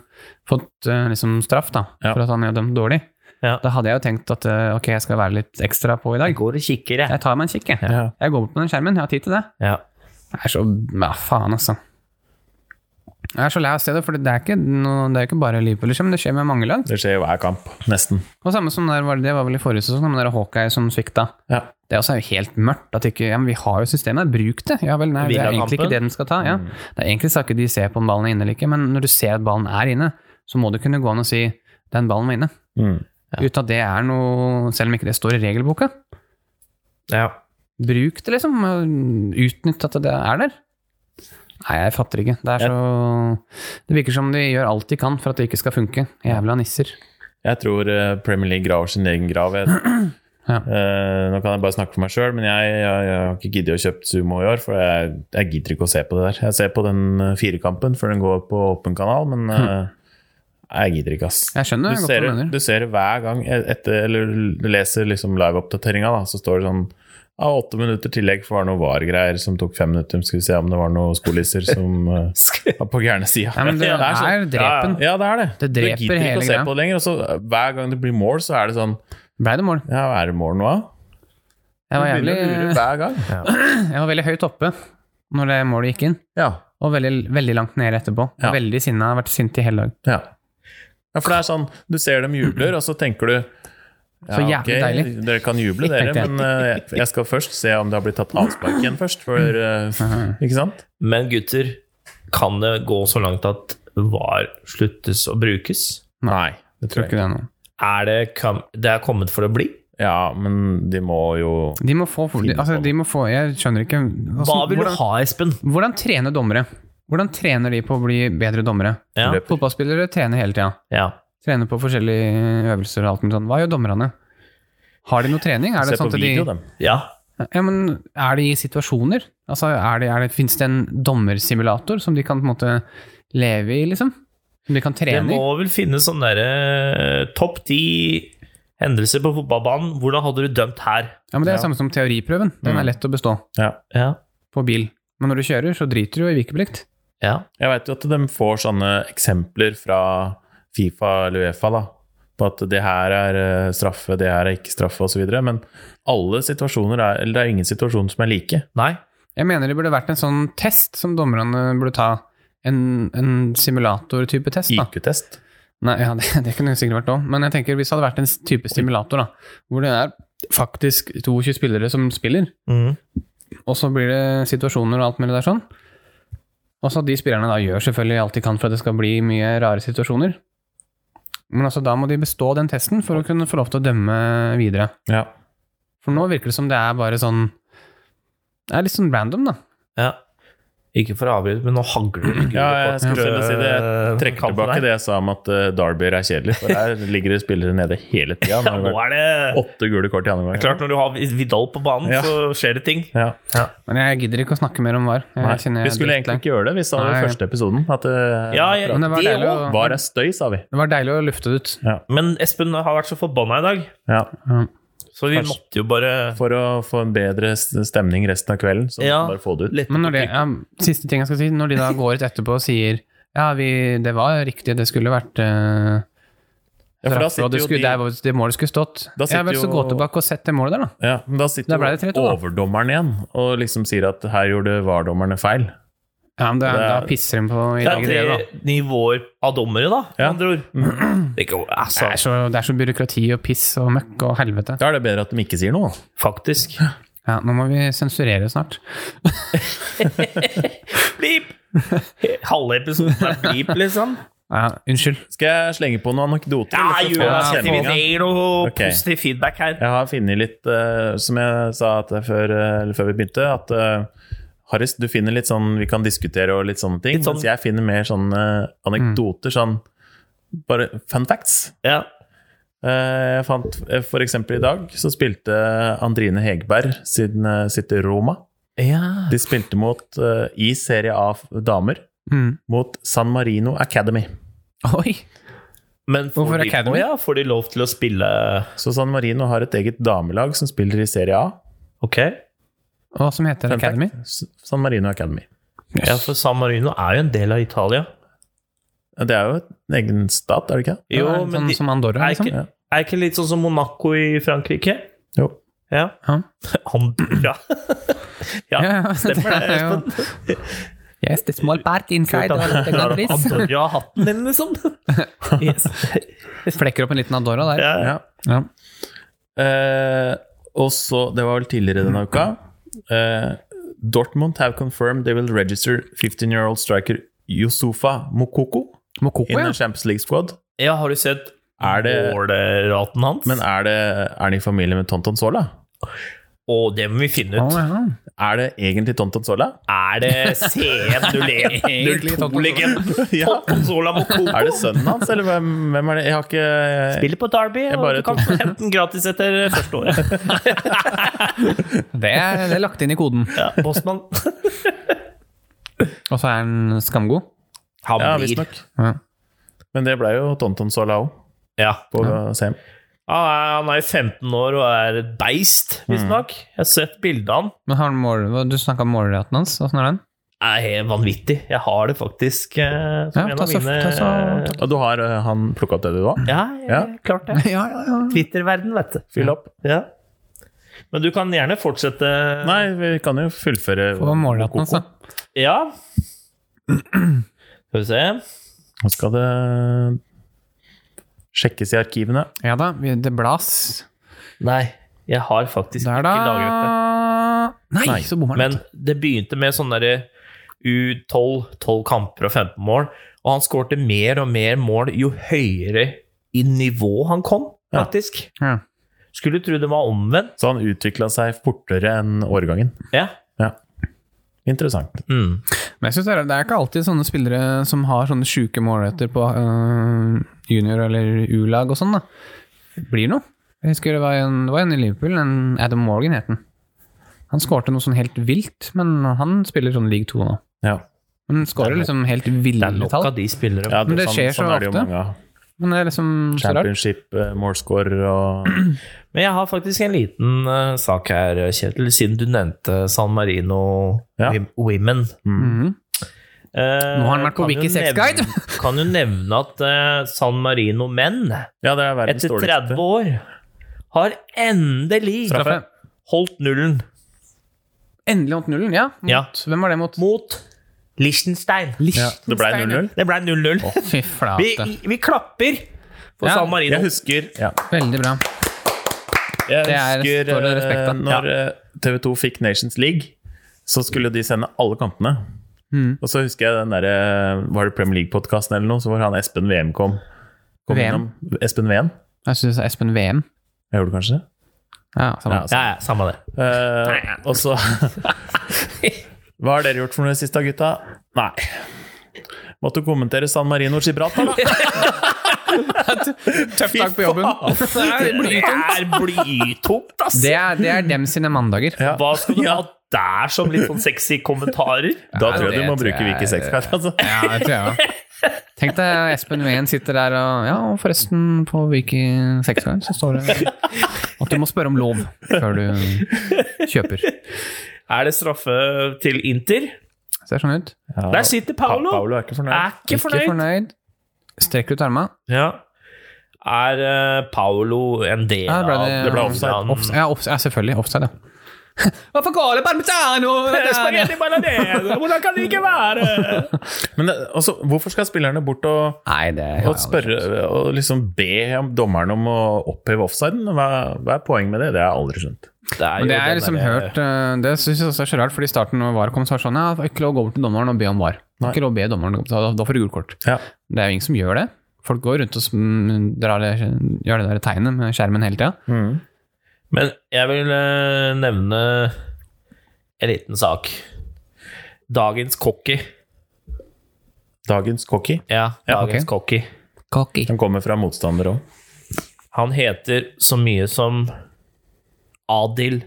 Speaker 3: fått eh, liksom straff da,
Speaker 1: Ja.
Speaker 3: for at han er dømt dårlig.
Speaker 2: Ja.
Speaker 3: Da hadde jeg jo tenkt at eh, ok, jeg skal være litt ekstra på i dag.
Speaker 2: går og kikker,
Speaker 3: Jeg tar meg en kikk, jeg.
Speaker 1: Ja.
Speaker 3: Jeg går bort på den skjermen, jeg har tid til det.
Speaker 2: Ja.
Speaker 3: Jeg er så Ja, faen, altså. Jeg er så lei av stedet, for det er ikke, noe, det er ikke bare Liverpool, det skjer, men det skjer med mange lag.
Speaker 1: Det skjer jo hver kamp, nesten.
Speaker 3: Og samme som der, var det, det var vel i forrige sesong, men der Hawkeye som svikta.
Speaker 1: Ja.
Speaker 3: Det også er jo helt mørkt. At ikke, ja, men vi har jo systemet, bruk det. Ja vel, nei, det er egentlig ikke det den skal ta. Ja.
Speaker 1: Mm.
Speaker 3: Det er egentlig ikke de ser på om ballen er inne eller ikke, men når du ser at ballen er inne, så må du kunne gå an og si den ballen var inne.
Speaker 1: Mm.
Speaker 3: Uten at det er noe Selv om ikke det står i regelboka.
Speaker 2: ja.
Speaker 3: Bruk det, liksom. og Utnytt at det er der. Nei, jeg fatter ikke. Det er så Det virker som de gjør alt de kan for at det ikke skal funke. Jævla nisser.
Speaker 1: Jeg tror eh, Premier League graver sin egen grav. Jeg,
Speaker 3: Ja.
Speaker 1: Eh, nå kan jeg bare snakke for meg sjøl, men jeg, jeg, jeg har ikke giddet å kjøpe Sumo i år. For jeg, jeg gidder ikke å se på det der. Jeg ser på den eh, firekampen, for den går på åpen kanal, men eh, jeg gidder ikke, ass.
Speaker 3: Hm. Jeg skjønner
Speaker 1: du
Speaker 3: godt
Speaker 1: ser,
Speaker 3: hva du
Speaker 1: det-
Speaker 3: mener.
Speaker 1: du ser det hver gang et- etter, eller du leser liksom liveoppdateringa, da, så står det sånn ja, åtte minutter tillegg for det var noe VAR-greier som tok fem minutter. Skal vi se om det var noen skolisser som eh, var på gærne sida.
Speaker 3: Ja, men det er drepen.
Speaker 1: Ja, ja, det er det.
Speaker 3: Det dreper
Speaker 1: du gidder
Speaker 3: hele
Speaker 1: ikke å se
Speaker 3: greia.
Speaker 1: på det lenger. Og så eh, hver gang det blir mål, så er det sånn
Speaker 3: Blei det mål?
Speaker 1: Ja, er det mål nå, da?
Speaker 3: Jeg var
Speaker 1: Du
Speaker 3: jævlig
Speaker 1: begynner å lure hver gang.
Speaker 3: Jeg var veldig høyt oppe når det målet gikk inn,
Speaker 1: Ja.
Speaker 3: og veldig, veldig langt ned etterpå.
Speaker 1: Ja.
Speaker 3: Veldig sinna, har vært sint i hele dag.
Speaker 1: ja. Ja, for det er sånn, du ser dem jubler, og så tenker du ja,
Speaker 3: Så jævlig
Speaker 1: ok,
Speaker 3: deilig.
Speaker 1: Dere kan juble, dere,
Speaker 3: Tenkte jeg.
Speaker 1: men eh, jeg- jeg skal først se om det har blitt tatt avspark igjen først. For, eh, ikke sant?
Speaker 2: Men gutter, kan det gå så langt at VAR sluttes å brukes?
Speaker 1: Nei, det
Speaker 3: Tror
Speaker 1: tror jeg ikke.
Speaker 3: ikke det er noe.
Speaker 2: Er det, kam- det er kommet for å bli?
Speaker 1: Ja, men de må jo
Speaker 3: De må få, de, altså, de må få Jeg skjønner ikke altså,
Speaker 2: Hva vil du
Speaker 3: hvordan,
Speaker 2: ha, Espen?
Speaker 3: hvordan trener dommere? Hvordan trener de på å bli bedre dommere?
Speaker 2: Ja.
Speaker 1: Løp.
Speaker 3: Fotballspillere trener hele tida.
Speaker 2: ja.
Speaker 3: Trener på forskjellige øvelser og alt mulig sånn. Hva gjør dommerne? Har de noe trening? Er
Speaker 1: se
Speaker 3: det sånn
Speaker 1: på
Speaker 3: at de,
Speaker 1: video, dem.
Speaker 2: ja.
Speaker 3: ja, men er de i situasjoner? Altså, er det, er det, Fins det en dommersimulator som de kan på en måte leve i, liksom? Som de kan
Speaker 2: Det
Speaker 3: trene i?
Speaker 2: må vel finnes sånn derre topp ti hendelser på fotballbanen. Hvordan hadde du dømt her?
Speaker 3: Ja, men Det er
Speaker 1: Ja.
Speaker 3: det samme som teoriprøven. Den er lett å bestå
Speaker 1: Ja.
Speaker 2: Ja.
Speaker 3: på bil. Men når du kjører, så driter du jo i vikeplikt.
Speaker 2: ja.
Speaker 1: Jeg veit jo at de får sånne eksempler fra Fifa eller Uefa, da. På at det her er eh, straffe, det her er ikke straffe osv. Men alle situasjoner er, eller det er ingen situasjon som er like.
Speaker 2: Nei.
Speaker 3: Jeg mener det burde vært en sånn test som dommerne burde ta. En, en simulator-type test, da.
Speaker 1: IQ-test.
Speaker 3: Nei, ja, det, det kunne det sikkert vært òg, men jeg tenker hvis det hadde vært en s- type simulator, da, hvor det er faktisk 22 spillere som spiller,
Speaker 2: Mhm.
Speaker 3: og så blir det situasjoner og alt mulig der sånn. Og så at de spillerne da gjør selvfølgelig alt de kan for at det skal bli mye rare situasjoner. Men altså, da må de bestå den testen for å kunne få lov til å dømme videre.
Speaker 1: Ja.
Speaker 3: For nå virker det som det er bare sånn Det er litt sånn random, da.
Speaker 2: Ja. Ikke for å avbryte, men nå hagler det.
Speaker 1: ja, jeg skulle til å si det.
Speaker 2: eh,
Speaker 1: Jeg trekker
Speaker 2: Kampen
Speaker 1: tilbake
Speaker 2: der.
Speaker 1: det jeg sa om at eh, Derby er kjedelig, for der ligger det spillere nede hele tida.
Speaker 2: Ja, nå er det
Speaker 1: Åtte gule kort i andre omgang.
Speaker 2: klart, når du har Vidal på banen,
Speaker 1: Ja.
Speaker 2: så skjer det ting.
Speaker 1: Ja.
Speaker 3: Men jeg gidder ikke å snakke mer om VAR. Jeg
Speaker 1: Nei,
Speaker 3: kjenner
Speaker 1: vi
Speaker 3: jeg
Speaker 1: skulle
Speaker 3: er
Speaker 1: egentlig ikke gjøre det. Vi sa det
Speaker 3: Nei.
Speaker 1: i første episoden. At eh,
Speaker 2: Ja, jeg,
Speaker 3: Men det var
Speaker 2: det
Speaker 3: deilig
Speaker 2: òg.
Speaker 3: å-
Speaker 1: var det støy, sa vi.
Speaker 3: Det var deilig å lufte det ut.
Speaker 2: Men Espen har vært så forbanna i dag,
Speaker 1: Ja.
Speaker 2: så vi
Speaker 1: Kanskje.
Speaker 2: måtte jo bare
Speaker 1: For å få en bedre s- stemning resten av kvelden, så
Speaker 2: Ja.
Speaker 1: bare få det ut.
Speaker 2: lette
Speaker 3: Men når det,
Speaker 2: på
Speaker 3: ja, siste ting jeg skal si, når de da går ut etterpå og sier ja, vi, det var riktig, det skulle vært eh,
Speaker 1: Ja, for da
Speaker 3: straffe, og
Speaker 1: sitter
Speaker 3: det,
Speaker 1: jo
Speaker 3: skulle,
Speaker 1: de-
Speaker 3: der hvor det målet skulle stått.
Speaker 1: Da
Speaker 3: Ja
Speaker 1: sitter
Speaker 3: vel, så
Speaker 1: jo-
Speaker 3: gå tilbake og sett det målet der, da.
Speaker 1: Ja, men da
Speaker 3: Da
Speaker 1: sitter
Speaker 3: ble det
Speaker 1: jo
Speaker 3: 3-2, da.
Speaker 1: overdommeren igjen og liksom sier at her gjorde VAR-dommerne feil.
Speaker 3: Ja, men det,
Speaker 1: Det er-
Speaker 3: da pisser de på i
Speaker 2: Det
Speaker 3: dag,
Speaker 2: er
Speaker 3: det, da.
Speaker 2: tre nivåer av dommere, da, med
Speaker 1: Ja.
Speaker 2: andre ord. Det går,
Speaker 3: Det
Speaker 2: altså,
Speaker 3: er, så, det er så byråkrati og piss og møkk og helvete.
Speaker 1: Da er det bedre at de ikke sier noe. da.
Speaker 2: faktisk.
Speaker 3: Ja, nå må vi sensurere snart.
Speaker 2: Blip! Halve episoden er blip, liksom.
Speaker 3: Ja, unnskyld.
Speaker 1: Skal jeg slenge på noen anekdoter?
Speaker 2: Ja,
Speaker 1: eller så
Speaker 2: gjør
Speaker 1: får jeg
Speaker 2: det. Vi
Speaker 1: stemninga?
Speaker 2: trenger noe
Speaker 1: Ok.
Speaker 2: positiv feedback her.
Speaker 1: Jeg har funnet litt, eh, som jeg sa at jeg før, eh, eller før vi begynte, at eh, Harris, du finner litt sånn Vi kan diskutere og litt sånne ting.
Speaker 2: Litt sånn-
Speaker 1: Mens jeg finner mer sånne anekdoter, sånn bare fun facts.
Speaker 2: Ja.
Speaker 1: Eh, Jeg fant eh, for eksempel i dag så spilte Andrine Hegberg sin, eh, sitt Roma. De spilte mot, eh, i Serie A f- damer
Speaker 3: Mm.
Speaker 1: mot San Marino Academy.
Speaker 3: Oi!
Speaker 2: Men får
Speaker 3: Hvorfor
Speaker 2: de,
Speaker 3: Academy?
Speaker 2: Ja, får de lov til å spille
Speaker 1: Så San Marino har et eget damelag som spiller i Serie A.
Speaker 2: Ok.
Speaker 3: Hva som heter
Speaker 1: Fun
Speaker 3: Academy?
Speaker 1: fact, S- San Marino Academy.
Speaker 2: Ja, for San Marino er jo en del av Italia.
Speaker 1: Det er jo en egen stat, er det ikke?
Speaker 2: Jo,
Speaker 3: Ja, sånn
Speaker 2: men de,
Speaker 3: som Andorra,
Speaker 2: er,
Speaker 3: liksom?
Speaker 2: ikke, er ikke litt sånn som Monaco i Frankrike?
Speaker 1: Jo.
Speaker 2: Ja.
Speaker 3: Ja.
Speaker 2: Andorra. ja,
Speaker 3: Ja, ja,
Speaker 2: stemmer det,
Speaker 3: det er jo-
Speaker 2: Espen.
Speaker 3: Yes, the small part inside. all the countries.
Speaker 2: Andorra-hatten din, liksom. Yes.
Speaker 3: Flekker opp en liten Andorra der.
Speaker 2: Ja.
Speaker 1: Ja.
Speaker 3: Ja.
Speaker 1: Eh, og så, det var vel tidligere denne uka eh, Dortmund have confirmed they will register 15-year-old striker Yusufa Mokoko
Speaker 3: Mokoko,
Speaker 1: in
Speaker 3: ja.
Speaker 1: the Champions League squad.
Speaker 2: ja, har du sett
Speaker 1: Er det-
Speaker 2: måleraten hans?
Speaker 1: Men er, det, er han i familie med Tonton Sola?
Speaker 2: Og det må vi finne
Speaker 3: Å,
Speaker 2: ut.
Speaker 3: ja.
Speaker 1: Er det egentlig Tonton Sola?
Speaker 2: Er det E
Speaker 3: Egentlig Tottenham.
Speaker 2: CM01-02-legenden?
Speaker 1: Ja.
Speaker 2: Sola Mokoko?
Speaker 1: Er det sønnen hans, eller hvem, hvem er det? Jeg har ikke
Speaker 2: Spiller på Derby, og
Speaker 1: bare
Speaker 2: du kan få hente den gratis etter første året.
Speaker 3: Det er, det er lagt inn i koden.
Speaker 2: Ja, Bosman.
Speaker 3: Og så er han skamgod.
Speaker 2: Han
Speaker 1: Ja,
Speaker 2: blir
Speaker 1: visstnok.
Speaker 3: Ja.
Speaker 1: Men det ble jo Tonton Sola òg,
Speaker 2: ja.
Speaker 1: på CM.
Speaker 2: Han er- han er jo 15 år og er et beist, visstnok.
Speaker 3: Mm.
Speaker 2: Jeg har sett bildet av han.
Speaker 3: Men har han mål, hva- du snakka om målraten hans. Åssen er den?
Speaker 2: Er helt vanvittig. Jeg har det faktisk eh, som
Speaker 3: Ja,
Speaker 2: en
Speaker 3: ta
Speaker 2: av
Speaker 3: så-
Speaker 2: mine
Speaker 3: ta så- ta
Speaker 1: Og du har eh, han plukka opp det du var?
Speaker 2: Ja, ja,
Speaker 1: Ja.
Speaker 2: klart det.
Speaker 3: Ja, ja, ja.
Speaker 2: Twitter-verden, vet du.
Speaker 1: Fyll opp.
Speaker 2: Ja. Men du kan gjerne fortsette.
Speaker 1: Nei, vi kan jo fullføre
Speaker 3: På målraten hans, da.
Speaker 2: Ja. Skal vi se.
Speaker 1: Nå skal det sjekkes i arkivene.
Speaker 3: Ja da, vi- det blas.
Speaker 2: Nei, jeg har faktisk
Speaker 3: Der,
Speaker 2: ikke lagret det.
Speaker 3: da. Nei,
Speaker 1: Nei,
Speaker 3: så bommer han.
Speaker 2: Men det begynte med sånn derre U12, 12 kamper og 15 mål. Og han skårte mer og mer mål jo høyere i nivå han kom,
Speaker 1: Ja.
Speaker 2: faktisk.
Speaker 3: Ja.
Speaker 2: Skulle tro det var omvendt.
Speaker 1: Så han utvikla seg fortere enn årgangen.
Speaker 2: Ja.
Speaker 1: Interessant.
Speaker 2: Mm.
Speaker 3: Men jeg synes det, er, det er ikke alltid sånne spillere som har sånne sjuke målretter på øh, junior- eller U-lag og sånn, da. Blir noe. Jeg husker det var en, det var en i Liverpool, en Adam Morgan het den. Han skårte noe sånn helt vilt, men han spiller sånn league 2 nå.
Speaker 1: Ja,
Speaker 3: Men skårer liksom helt
Speaker 2: Det er
Speaker 3: ville
Speaker 2: nok
Speaker 3: tall.
Speaker 2: av de spillere.
Speaker 1: ja sånn-
Speaker 3: Men det skjer så
Speaker 1: er det jo
Speaker 3: ofte.
Speaker 1: mange av.
Speaker 3: Men det er liksom så rart.
Speaker 1: Championship, eh, målscorer og
Speaker 2: Men jeg har faktisk en liten eh, sak her, Kjetil, siden du nevnte San Marino
Speaker 1: Ja.
Speaker 2: Wim- Women.
Speaker 3: Mhm.
Speaker 2: Eh,
Speaker 3: Nå har han vært på
Speaker 2: kan jo
Speaker 3: Wiki Sex Guide.
Speaker 2: nevne- Kan jo nevne at eh, San Marino menn,
Speaker 1: Ja, det er verdens
Speaker 2: etter
Speaker 1: dårligste.
Speaker 2: 30 år, har endelig
Speaker 3: Straffe.
Speaker 2: holdt nullen.
Speaker 3: Endelig holdt nullen, ja. Mot,
Speaker 2: Ja.
Speaker 3: Hvem var det mot?
Speaker 2: mot Liechtenstein.
Speaker 1: Ja, det ble 0-0.
Speaker 2: Det ble 0-0. Vi,
Speaker 3: Fy flate.
Speaker 2: vi klapper for
Speaker 3: Ja.
Speaker 2: San Marino.
Speaker 1: Jeg husker, ja.
Speaker 3: Veldig bra.
Speaker 1: jeg
Speaker 3: Det er-
Speaker 1: husker
Speaker 3: står det respekt av.
Speaker 1: eh, når TV 2 fikk Nations League, så skulle de sende alle kampene.
Speaker 3: Mhm.
Speaker 1: Og så husker jeg den der, eh, Var det Premier League-podkasten eller noe, så hvor han Espen VM kom. kom
Speaker 3: VM?
Speaker 1: innom. Espen VM?
Speaker 3: Jeg synes det er Espen VM.
Speaker 1: Jeg gjorde kanskje det?
Speaker 3: Ja, samme.
Speaker 1: Ja,
Speaker 2: Ja, ja, samme det.
Speaker 1: Eh, og så Hva har dere gjort for noe sist da, gutta? Nei. Måtte kommentere San Marino Gibraltar, da.
Speaker 3: Tøff dag på jobben.
Speaker 2: Det er blytungt, ass!
Speaker 3: Det er, det er dem sine mandager.
Speaker 1: Ja.
Speaker 2: Hva skal du ha der som litt sånn sexy kommentarer?
Speaker 1: Da tror jeg
Speaker 3: det
Speaker 1: du må
Speaker 3: tror
Speaker 1: bruke
Speaker 3: jeg-
Speaker 1: Viki 6 her, altså.
Speaker 3: Ja, det tror jeg òg. Tenk deg Espen Ween sitter der og Ja, og forresten, på Viki seksgang så står det at du må spørre om lov før du kjøper.
Speaker 2: Er det straffe til Inter?
Speaker 3: Ser sånn ut.
Speaker 2: Der sitter Paolo!
Speaker 1: Pa- Paolo er ikke fornøyd.
Speaker 2: Er ikke fornøyd.
Speaker 3: fornøyd. Strekker ut arma.
Speaker 2: Ja. Er eh, Paolo en del
Speaker 3: Ja,
Speaker 2: av
Speaker 3: det ble det-
Speaker 1: det ble offside.
Speaker 2: Milan-
Speaker 3: Offs- ja, offs- ja, selvfølgelig. Offside, ja. Hvorfor går det parmesano?
Speaker 2: Eh, Spaghetti bolognese, Hvordan kan det ikke være?
Speaker 1: Men det, altså, hvorfor skal spillerne bort og,
Speaker 3: Nei, det
Speaker 1: og spørre og liksom be om dommeren om å oppheve offsiden? Hva, hva er poenget med det? Det har jeg aldri skjønt.
Speaker 2: Det er, jo
Speaker 3: Men det er
Speaker 2: den
Speaker 3: liksom
Speaker 2: der-
Speaker 3: hørt eh, Det syns jeg også er så rart, fordi i starten når VAR kom, så var det sånn Ja, det var ikke lov å gå bort til dommeren og be om VAR. Det
Speaker 1: Nei.
Speaker 3: var Ikke lov å be dommeren gå bort, da, da får du gult kort.
Speaker 1: Ja.
Speaker 3: Det er jo ingen som gjør det. Folk går rundt og sm- drar det, gjør det der tegnet med skjermen hele tida.
Speaker 1: Mm.
Speaker 2: Men jeg vil eh, nevne en liten sak. Dagens cocky.
Speaker 1: Dagens cocky.
Speaker 2: Ja, dagens
Speaker 3: ok.
Speaker 2: cocky.
Speaker 3: Cocky.
Speaker 1: Den kommer fra motstander òg.
Speaker 2: Han heter så mye som Adil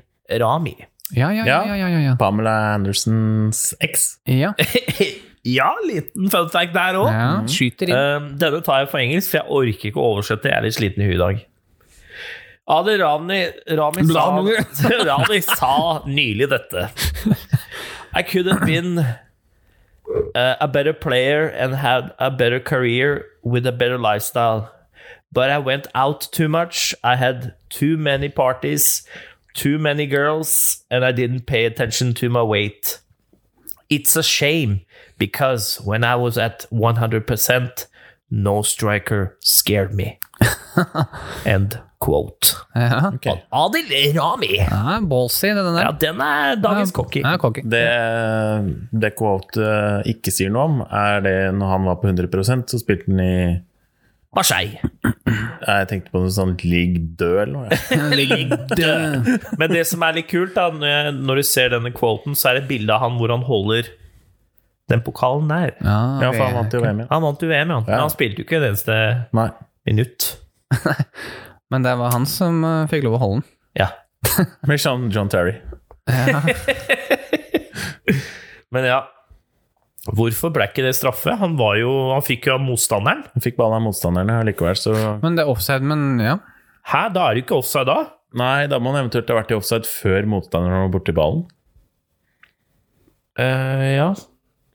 Speaker 2: Rami.
Speaker 3: Ja, ja, ja.
Speaker 1: Ja.
Speaker 3: ja, ja, ja, ja.
Speaker 1: Pamela Andersens eks.
Speaker 3: ja.
Speaker 2: ja, liten fun fact der òg.
Speaker 3: ja. Skyter inn.
Speaker 2: Um, denne tar jeg på engelsk, for jeg orker ikke å oversette. Jeg er litt sliten i huet i dag. Adi Rani, Rami sa, Rani sa nylig dette. I could have been uh, a better player and had a better career with a better lifestyle. But I went out too much. I had too many parties, too many girls, and I didn't pay attention to my weight. It's a shame because when I was at 100%, no striker scared me. End quote.
Speaker 3: Ja.
Speaker 2: Adil Rami!
Speaker 3: Ja, ballsy, det den der.
Speaker 2: Ja, den er dagens cocky.
Speaker 3: Ja, cocky.
Speaker 1: Det, det Quote eh, ikke sier noe om, er det når han var på 100 så spilte han i
Speaker 2: Marseille.
Speaker 1: Jeg tenkte på noe sånn Ligue Dø eller noe. jeg.
Speaker 2: Men det som er litt kult, da, når jeg- når du ser denne quoten, så er det et bilde av han hvor han holder den pokalen der.
Speaker 1: Ja, for han vant jo VM, ja.
Speaker 2: Han vant jo VM, ja. men han spilte jo ikke et eneste
Speaker 1: Nei.
Speaker 2: minutt.
Speaker 3: Men det var han som eh, fikk lov å holde den.
Speaker 2: Ja.
Speaker 1: Blir sånn John Terry.
Speaker 2: Men ja, hvorfor ble ikke det straffe? Han, var jo, han fikk jo av motstanderen.
Speaker 1: Han fikk ballen av motstanderne, og likevel så
Speaker 3: Men det er offside, men ja.
Speaker 2: Hæ, da er det jo ikke offside da?
Speaker 1: Nei, da må han eventuelt ha vært i offside før motstanderen var borti ballen.
Speaker 2: Eh, ja.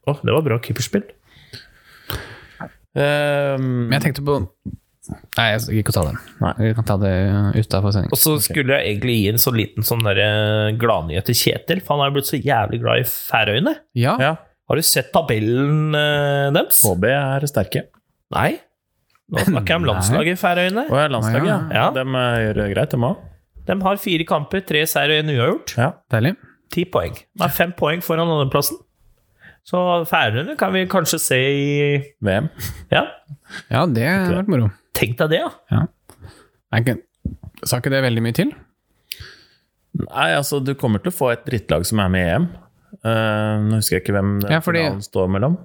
Speaker 2: Å, det var bra keeperspill.
Speaker 1: Ehm,
Speaker 3: Men jeg tenkte på Nei, jeg gidder ikke å ta den.
Speaker 1: Nei.
Speaker 3: Vi kan ta det utafor sending.
Speaker 2: Og så skulle jeg egentlig gi en så liten sånn der, eh, gladnyhet til Kjetil, for han har jo blitt så jævlig glad i Færøyene.
Speaker 3: Ja,
Speaker 1: ja,
Speaker 2: Har du sett tabellen eh, deres?
Speaker 1: HB er sterke.
Speaker 2: Nei. Nå snakker jeg om
Speaker 3: Nei.
Speaker 2: landslaget i Færøyene.
Speaker 1: Og er landslaget, ja.
Speaker 2: Ja.
Speaker 1: De eh, gjør det greit, dem òg.
Speaker 2: De har fire kamper, tre seier og en uavgjort.
Speaker 1: Ja.
Speaker 3: deilig.
Speaker 2: Ti poeng. De er fem poeng foran andreplassen. Så Færøyene kan vi kanskje se i
Speaker 1: VM.
Speaker 2: Ja,
Speaker 3: Ja, det har vært moro.
Speaker 2: tenk deg det, ja.
Speaker 3: Er ikke- Sa ikke det veldig mye til?
Speaker 1: Nei, altså, du kommer til å få et drittlag som er med i EM. Eh, nå husker jeg ikke hvem den
Speaker 3: Ja, fordi-
Speaker 1: finalen står mellom.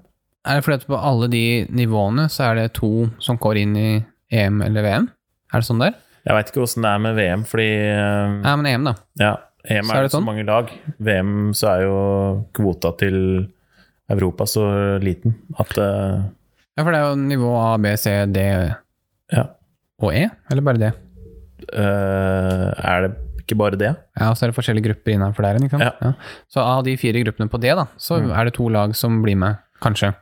Speaker 3: Er det fordi at på alle de nivåene så er det to som går inn i EM eller VM? Er det sånn der?
Speaker 1: Jeg veit ikke åssen det er med VM, fordi eh,
Speaker 3: Ja, men EM, da.
Speaker 1: ja, EM
Speaker 3: Så
Speaker 1: er,
Speaker 3: er det
Speaker 1: det så
Speaker 3: sånn?
Speaker 1: mange lag. VM så er jo kvota til Europa så liten at eh,
Speaker 3: Ja, for det er jo nivå A, B, C, D
Speaker 1: Ja.
Speaker 3: og E, eller bare det?
Speaker 1: eh, Er det ikke bare det?
Speaker 3: Ja, og så er det forskjellige grupper innenfor der igjen, ikke sant? Ja. Så av de fire gruppene på D, da, så
Speaker 1: Mm.
Speaker 3: er det to lag som blir med, kanskje.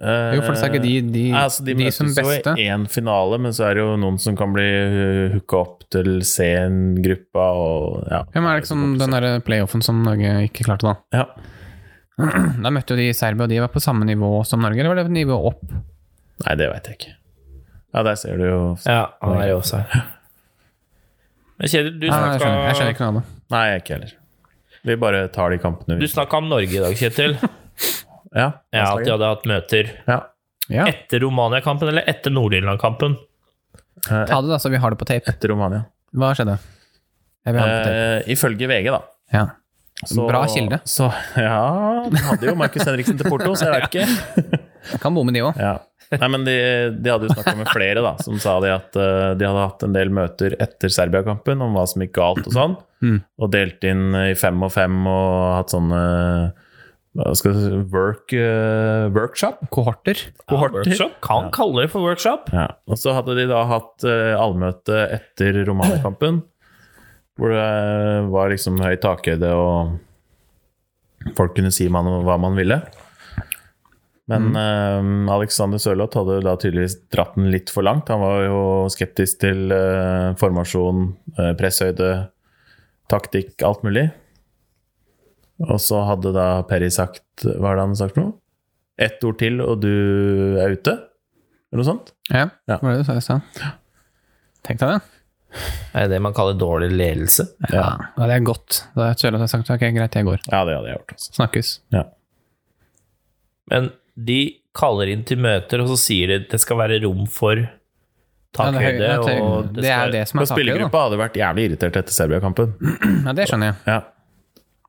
Speaker 1: Eh,
Speaker 3: Jo, for det er ikke de, de,
Speaker 1: Nei, altså, de,
Speaker 3: de
Speaker 1: møtes
Speaker 3: som beste.
Speaker 1: jo i én finale, men så er det jo noen som kan bli uh, hooka opp til C-gruppa og ja.
Speaker 3: Ja, men er det ikke sånn den der playoffen som Norge ikke klarte, da?
Speaker 1: Ja.
Speaker 3: Da møtte jo de Serbia, og de var på samme nivå som Norge, eller var det nivå opp?
Speaker 1: Nei, det veit jeg ikke. Ja, der ser du jo
Speaker 2: Ja, han er jo også her. Men Kjetil, du
Speaker 3: Nei, nei, jeg,
Speaker 2: snakka
Speaker 3: skjønner, jeg skjønner ikke noe av det.
Speaker 1: Nei, jeg ikke heller. Vi bare tar de
Speaker 2: Du
Speaker 1: kampene vi
Speaker 2: snakka om Norge i dag, Kjetil.
Speaker 1: Ja.
Speaker 2: Ja, at de hadde hatt møter
Speaker 1: ja.
Speaker 3: Ja,
Speaker 2: etter Romania-kampen eller etter Nord-Irland-kampen.
Speaker 3: ta det da, så vi har det på tape.
Speaker 1: Etter Romania.
Speaker 3: Hva skjedde? Jeg vil ha det på tape.
Speaker 1: Eh, ifølge VG, da.
Speaker 3: Ja. Bra kilde.
Speaker 1: Så, ja, de hadde jo Markus Henriksen til Porto, så jeg veit ikke.
Speaker 3: Jeg kan bomme de òg.
Speaker 1: Ja. Nei, men de, de hadde jo snakka med flere da, som sa det at eh, de hadde hatt en del møter etter Serbia-kampen om hva som gikk galt og sånn, og delt inn eh, i fem og fem og hatt sånne hva skal jeg si, work, eh, workshop.
Speaker 3: Kohorter.
Speaker 2: Workshop? Kan kalle det for workshop.
Speaker 1: Ja. Og så hadde de da hatt eh, allmøte etter Romania-kampen, hvor det var liksom høy takhøyde, og folk kunne si man, hva man ville. Men eh, Alexander Sørloth hadde da tydeligvis dratt den litt for langt. Han var jo skeptisk til eh, formasjon, eh, presshøyde, taktikk, alt mulig. Og så hadde da Perry sagt Hva er det han har sagt for noe? Ett ord til, og du er ute? Eller noe sånt?
Speaker 3: Ja,
Speaker 1: Ja.
Speaker 3: hva var det du sa i stad? Tenk deg det.
Speaker 2: Er det det man kaller dårlig ledelse?
Speaker 1: Ja,
Speaker 3: Ja, det er godt. Da kjører jeg sagt ok, greit, jeg går.
Speaker 1: ja det hadde jeg gjort. Altså.
Speaker 3: Snakkes.
Speaker 1: Ja.
Speaker 2: Men de kaller inn til møter, og så sier de at det skal være rom for
Speaker 3: Ja, det, er høy-
Speaker 2: takhøyde.
Speaker 3: det er-
Speaker 2: og
Speaker 3: det er det som
Speaker 1: Men
Speaker 3: er takhøyde, da.
Speaker 1: spillergruppa hadde vært jævlig irritert etter Serbia-kampen.
Speaker 3: Ja, det skjønner jeg.
Speaker 1: Ja.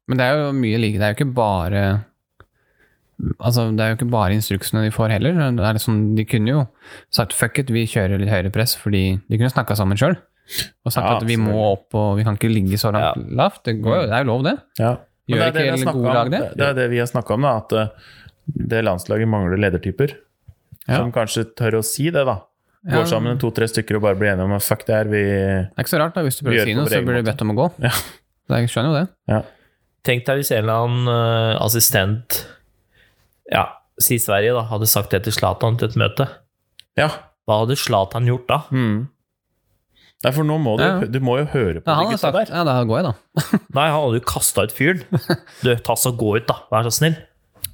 Speaker 3: Men det er jo mye like. Det er jo ikke bare Altså, det er jo ikke bare instruksene de får heller. Det er liksom, de kunne jo sagt 'fuck it, vi kjører litt høyere press', fordi de kunne snakka sammen sjøl. Og sagt
Speaker 1: Ja,
Speaker 3: at vi må opp, og vi kan ikke ligge så langt lavt. Det, går, jo- det er jo lov, det.
Speaker 1: Ja. Men
Speaker 3: Gjør
Speaker 1: det er det vi har
Speaker 3: ikke
Speaker 1: snakket
Speaker 3: gode lag
Speaker 1: om,
Speaker 3: det?
Speaker 1: Det er det vi har snakka om, da. At eh, det landslaget mangler ledertyper.
Speaker 3: Ja.
Speaker 1: Som kanskje tør å si det, da.
Speaker 3: Ja.
Speaker 1: Går sammen to-tre stykker og bare blir enige om at fuck det her, vi
Speaker 3: Det er ikke så rart, da. Hvis du
Speaker 1: Vi
Speaker 3: prøver å
Speaker 1: gjør
Speaker 3: si
Speaker 1: det på
Speaker 3: noe,
Speaker 1: vår
Speaker 3: så
Speaker 1: egen
Speaker 3: blir du
Speaker 1: måte.
Speaker 3: bedt om å gå.
Speaker 1: Ja.
Speaker 3: Det er, jeg skjønner jo det.
Speaker 1: ja.
Speaker 2: Tenk deg hvis en eller annen eh, assistent Ja, si Sverige, da, hadde sagt det til Zlatan til et møte.
Speaker 1: ja.
Speaker 2: Hva hadde Zlatan gjort da?
Speaker 1: Mm. Nei, for nå må du,
Speaker 3: Ja, ja.
Speaker 1: du må jo høre på
Speaker 3: Ja,
Speaker 1: de
Speaker 3: han har
Speaker 1: gutta
Speaker 3: sagt
Speaker 1: der.
Speaker 3: Ja, da går jeg, da.
Speaker 2: Nei, han hadde jo kasta ut fyren. Du, ta så gå ut, da. Vær så snill.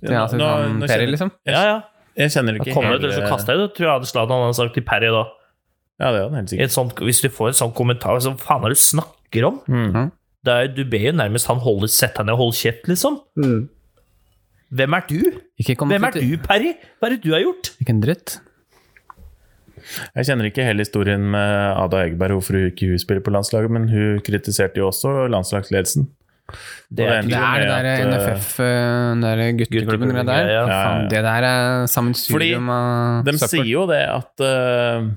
Speaker 3: Til han, til
Speaker 1: Nå-
Speaker 3: han
Speaker 1: nå
Speaker 3: Perry,
Speaker 1: kjenner-
Speaker 3: liksom.
Speaker 2: Ja, ja.
Speaker 1: Jeg kjenner ikke eh,
Speaker 2: Kommer du til å kaste deg ut, tror jeg hadde Zlatan hadde sagt til Perry da.
Speaker 1: Ja, det er han helt
Speaker 2: I
Speaker 1: sikkert.
Speaker 2: et sånt, hvis du får en sånn kommentar, så faen er det du snakker om?
Speaker 1: Mhm.
Speaker 2: Det er, du ber jo nærmest han holde, sette deg ned og holde kjeft, liksom. Hvem er du?
Speaker 3: Ikke kom
Speaker 2: Hvem
Speaker 3: til-
Speaker 2: er du, Perry? Hva er det du har gjort?
Speaker 3: Ikke en dritt.
Speaker 1: Jeg kjenner ikke hele historien med Ada Egeberg, hvorfor hun ikke hun spiller på landslaget, men hun kritiserte jo også landslagsledelsen.
Speaker 2: Det
Speaker 1: Og
Speaker 2: er
Speaker 1: endte
Speaker 3: Det
Speaker 1: jo
Speaker 3: er det
Speaker 1: med
Speaker 3: der
Speaker 1: at, eh,
Speaker 3: NFF, eh, den der gutteklubben
Speaker 2: gutteklubben,
Speaker 3: der.
Speaker 2: ja, ja.
Speaker 3: Fy
Speaker 1: Ja, ja.
Speaker 3: Faen, det der er
Speaker 1: Fordi
Speaker 3: sammensurium av
Speaker 1: De
Speaker 3: søppel.
Speaker 1: sier jo det at eh,